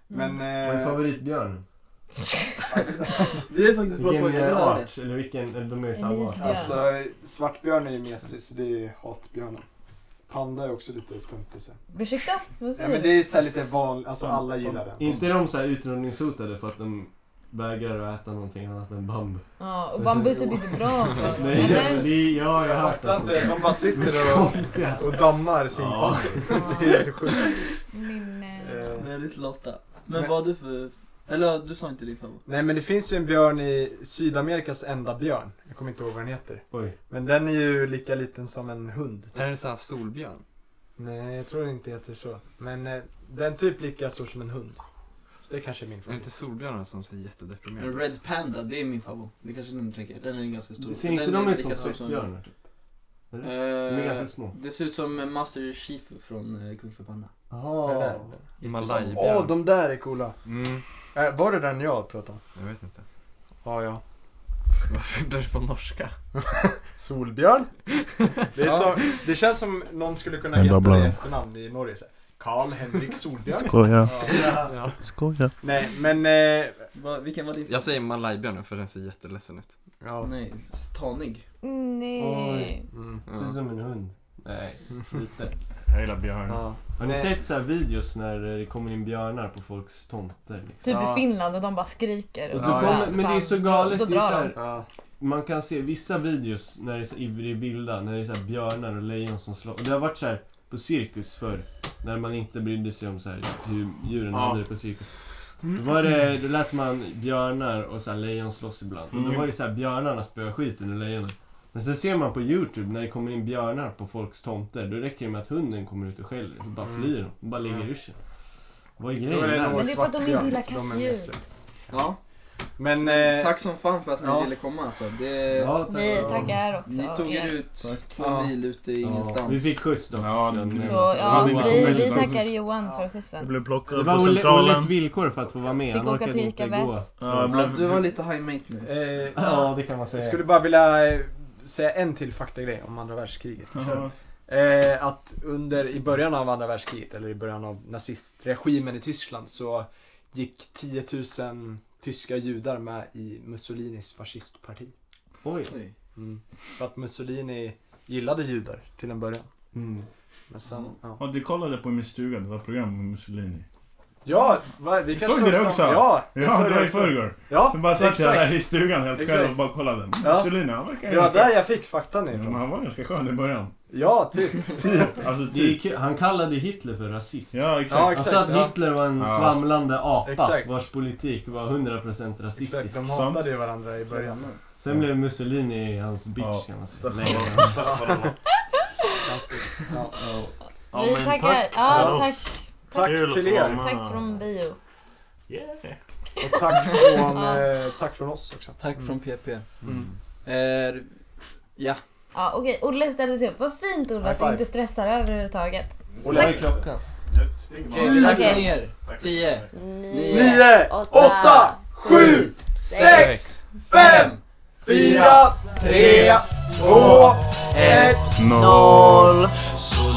Speaker 6: Men...
Speaker 5: Vad är
Speaker 6: Eh,
Speaker 5: favoritbjörnen?
Speaker 6: alltså,
Speaker 7: Det är faktiskt bra
Speaker 5: Vilken
Speaker 7: fråga. Jag vill
Speaker 5: eh,
Speaker 7: ha det.
Speaker 5: art? Eller vilken? Eller de är ju samma art.
Speaker 4: Elisabeth.
Speaker 6: alltså, svartbjörn är ju mesig så det är hatbjörnen. Panda är också lite töntig. så.
Speaker 4: Ursäkta? Vad
Speaker 6: Ja,
Speaker 4: säger
Speaker 6: men det
Speaker 4: du?
Speaker 6: är så här lite vanligt, alltså alla gillar den.
Speaker 5: Inte är de så här utrotningshotade för att de vägrar att äta någonting annat än bambu?
Speaker 4: Ja, och bambu är typ inte bra för dem.
Speaker 5: Nej, alltså,
Speaker 4: Eller?
Speaker 5: det är, ja, jag har hört
Speaker 6: fattar inte, de bara
Speaker 5: De är
Speaker 6: sitter
Speaker 5: så
Speaker 6: och,
Speaker 5: konstiga.
Speaker 6: och dammar sin
Speaker 5: Ja.
Speaker 6: Det är så sjukt.
Speaker 4: Min... eh,
Speaker 6: Eh,
Speaker 7: Väldigt lata. Men
Speaker 6: Men-
Speaker 7: vad har du för... Eller du sa inte din favorit.
Speaker 6: Nej men det finns ju en björn i Sydamerikas enda björn. Jag kommer inte ihåg vad den heter.
Speaker 5: Oj.
Speaker 6: Men den är ju lika liten som en hund.
Speaker 14: Den är såhär solbjörn.
Speaker 6: Nej jag tror den inte heter så. Men eh, den är typ lika stor som en hund. Så det kanske är min
Speaker 14: Är det inte
Speaker 6: favorit.
Speaker 14: solbjörnen som ser jättedeprimerad
Speaker 7: En
Speaker 14: ut?
Speaker 7: Red Panda, det är min favorit. Det kanske ni inte tänker. Den är ganska stor.
Speaker 5: Ser inte
Speaker 7: den
Speaker 5: de
Speaker 7: är
Speaker 5: ut som
Speaker 7: lika stor
Speaker 5: svartbjörnar? typ? De är ganska
Speaker 7: Eh,
Speaker 5: små.
Speaker 7: det ser ut som Master Chief från eh, Kung Fu Panda.
Speaker 5: Jaha.
Speaker 14: Malajbjörn.
Speaker 6: Åh, de där är coola.
Speaker 14: Mm,
Speaker 6: Eh, var det den jag pratade om?
Speaker 14: jag vet inte.
Speaker 6: Ja, ja.
Speaker 14: Varför blir det på norska?
Speaker 6: Solbjörn? Det, är så, det känns som någon skulle kunna
Speaker 1: Enda
Speaker 6: heta det i
Speaker 1: bladen.
Speaker 6: efternamn i Norge. så här. Karl Henrik Solbjörn?
Speaker 1: Skoja,
Speaker 6: Ja.
Speaker 14: Ja.
Speaker 1: skoja.
Speaker 6: Nej, men... Eh,
Speaker 7: Va, vilken var din
Speaker 14: Jag säger malajbjörnen för den ser jätteledsen ut.
Speaker 6: ja.
Speaker 7: Nej, tanig.
Speaker 4: Nej.
Speaker 6: Mm.
Speaker 5: Ser ut
Speaker 14: Ja.
Speaker 5: som en hund. Nej, lite.
Speaker 1: Jag gillar björn.
Speaker 6: ja.
Speaker 5: Har ni
Speaker 6: Nej.
Speaker 5: sett så här videos när det kommer in björnar på folks tomter? Liksom?
Speaker 4: Typ
Speaker 6: Ja.
Speaker 4: i Finland och de bara skriker.
Speaker 5: Och så
Speaker 4: bara,
Speaker 5: kommer, men det är
Speaker 4: fan,
Speaker 5: så galet.
Speaker 4: Då
Speaker 5: Det är så
Speaker 4: drar de.
Speaker 5: här,
Speaker 6: Ja.
Speaker 5: man kan se vissa videos när det är så i bilda, när det är så här björnar och lejon som slår. Och det har varit så här på cirkus förr. När man inte brydde sig om så här hur djuren
Speaker 1: Ja.
Speaker 5: hade det på cirkus. Då, var det, då lät man björnar och så här lejon slåss ibland. Och då
Speaker 1: Mm.
Speaker 5: var det så här björnarna spöade skiten ur lejonen. Men sen ser man på Youtube när det kommer in björnar på folks tomter. Då räcker det med att hunden kommer ut och skäller. Så bara
Speaker 6: Mm.
Speaker 5: flyr de. Och bara lägger ur sig. Vad är
Speaker 6: Då
Speaker 5: grejen
Speaker 6: är
Speaker 5: där?
Speaker 6: nog
Speaker 4: Mm. Men det är för att de inte
Speaker 6: svartbjörn.
Speaker 4: gillar
Speaker 6: De är
Speaker 4: kattdjur.
Speaker 6: mesiga.
Speaker 7: Ja,
Speaker 6: Men...
Speaker 7: men
Speaker 6: Eh,
Speaker 7: tack som fan för att ni
Speaker 6: ja.
Speaker 7: ville komma alltså. Det,
Speaker 5: Ja, tack.
Speaker 4: Vi tackar också
Speaker 7: ni tog er
Speaker 4: er.
Speaker 7: ut
Speaker 5: Tack.
Speaker 7: två
Speaker 6: Ja.
Speaker 7: mil ute i
Speaker 5: Ja,
Speaker 7: ingenstans.
Speaker 5: Vi fick skjuts dock.
Speaker 1: Ja,
Speaker 5: så
Speaker 1: det-
Speaker 5: det-
Speaker 1: Så,
Speaker 4: Så
Speaker 1: Ja,
Speaker 4: ja,
Speaker 1: det var
Speaker 4: vi,
Speaker 1: väldigt
Speaker 4: vi
Speaker 1: bra.
Speaker 4: tackar Johan för
Speaker 1: Jag
Speaker 4: skjusen.
Speaker 1: blev
Speaker 5: Det
Speaker 1: plockad på
Speaker 5: var Olle, Olles
Speaker 1: centralen.
Speaker 5: villkor för att få vara med.
Speaker 4: Fick
Speaker 5: Han
Speaker 4: åka
Speaker 5: orkade
Speaker 4: till Ica
Speaker 5: inte gå.
Speaker 4: Väst.
Speaker 1: Ja, jag
Speaker 7: Ja, du var
Speaker 1: blev...
Speaker 7: lite high maintenance.
Speaker 6: eh,
Speaker 5: Ja, det kan man
Speaker 6: jag
Speaker 5: säga.
Speaker 6: skulle bara vilja eh, säga en till faktagrej om andra världskriget. Så,
Speaker 1: Ja.
Speaker 6: Eh, att under, i början av andra världskriget, eller i början av nazistregimen i Tyskland, så gick 10 000 tyska judar med i Mussolinis fascistparti.
Speaker 5: Oj.
Speaker 7: Oj.
Speaker 5: Mm.
Speaker 6: För att Mussolini gillade judar till en början.
Speaker 5: Mm.
Speaker 6: Men sen, ja.
Speaker 1: Ja, du kollade på min stuga, det var program med Mussolini.
Speaker 6: Ja, va, vi
Speaker 1: Du
Speaker 6: kan
Speaker 1: såg
Speaker 6: slå
Speaker 1: det
Speaker 6: sam-
Speaker 1: också?
Speaker 6: Ja, jag
Speaker 1: Ja,
Speaker 6: såg
Speaker 1: det var i
Speaker 6: också.
Speaker 1: förrgår.
Speaker 6: Ja,
Speaker 1: Så bara satt jag
Speaker 6: exakt.
Speaker 1: där i stugan helt
Speaker 6: Exakt.
Speaker 1: själv och bara kollade. Mm,
Speaker 6: Ja.
Speaker 1: Mussolini, han verkar
Speaker 6: Det var
Speaker 1: ganska-
Speaker 6: där jag fick faktan
Speaker 1: Ja, men
Speaker 6: ifrån.
Speaker 1: Han var ganska skön i början.
Speaker 6: Ja, typ.
Speaker 1: Typ. Alltså
Speaker 5: Det är
Speaker 1: typ.
Speaker 5: kul. Han kallade Hitler för rasist.
Speaker 1: Ja,
Speaker 6: Ja,
Speaker 1: exakt.
Speaker 5: Han
Speaker 6: exakt,
Speaker 5: sa att
Speaker 6: ja.
Speaker 5: Hitler var en
Speaker 1: Ja.
Speaker 5: svamlande apa
Speaker 6: Exakt.
Speaker 5: vars politik var 100% rasistisk.
Speaker 6: Exakt, de
Speaker 1: Sant.
Speaker 6: hatade ju varandra i början.
Speaker 5: Sen blev Mussolini hans bitch
Speaker 1: Ja.
Speaker 5: kan man säga.
Speaker 1: Staffan.
Speaker 5: Nej,
Speaker 1: Staffan.
Speaker 6: Ganska, ja.
Speaker 5: ja.
Speaker 1: Ja,
Speaker 4: Vi
Speaker 1: men
Speaker 4: tackar.
Speaker 1: tack för
Speaker 4: Ja,
Speaker 1: oss.
Speaker 4: tack.
Speaker 6: Tack
Speaker 1: Kul att
Speaker 6: till
Speaker 1: få vara
Speaker 6: er.
Speaker 1: med.
Speaker 4: Tack från bio.
Speaker 1: Yeah.
Speaker 6: Och tack från,
Speaker 4: Ja.
Speaker 6: eh, tack från oss också.
Speaker 3: Tack från PP.
Speaker 6: Mm.
Speaker 3: Eh, ja,
Speaker 4: Ja, okej. Olle ställde sig upp. Vad fint Olle
Speaker 6: High
Speaker 4: att du
Speaker 6: five.
Speaker 4: inte stressar överhuvudtaget.
Speaker 5: Och vad är klockan?
Speaker 3: okej,
Speaker 4: Mm,
Speaker 3: tack
Speaker 4: okej.
Speaker 3: för er.
Speaker 1: Tack.
Speaker 3: Tio.
Speaker 12: Nio,
Speaker 6: Nio, åtta, sju, sex, fem, fyra, tre, två, ett.
Speaker 1: Noll.
Speaker 2: So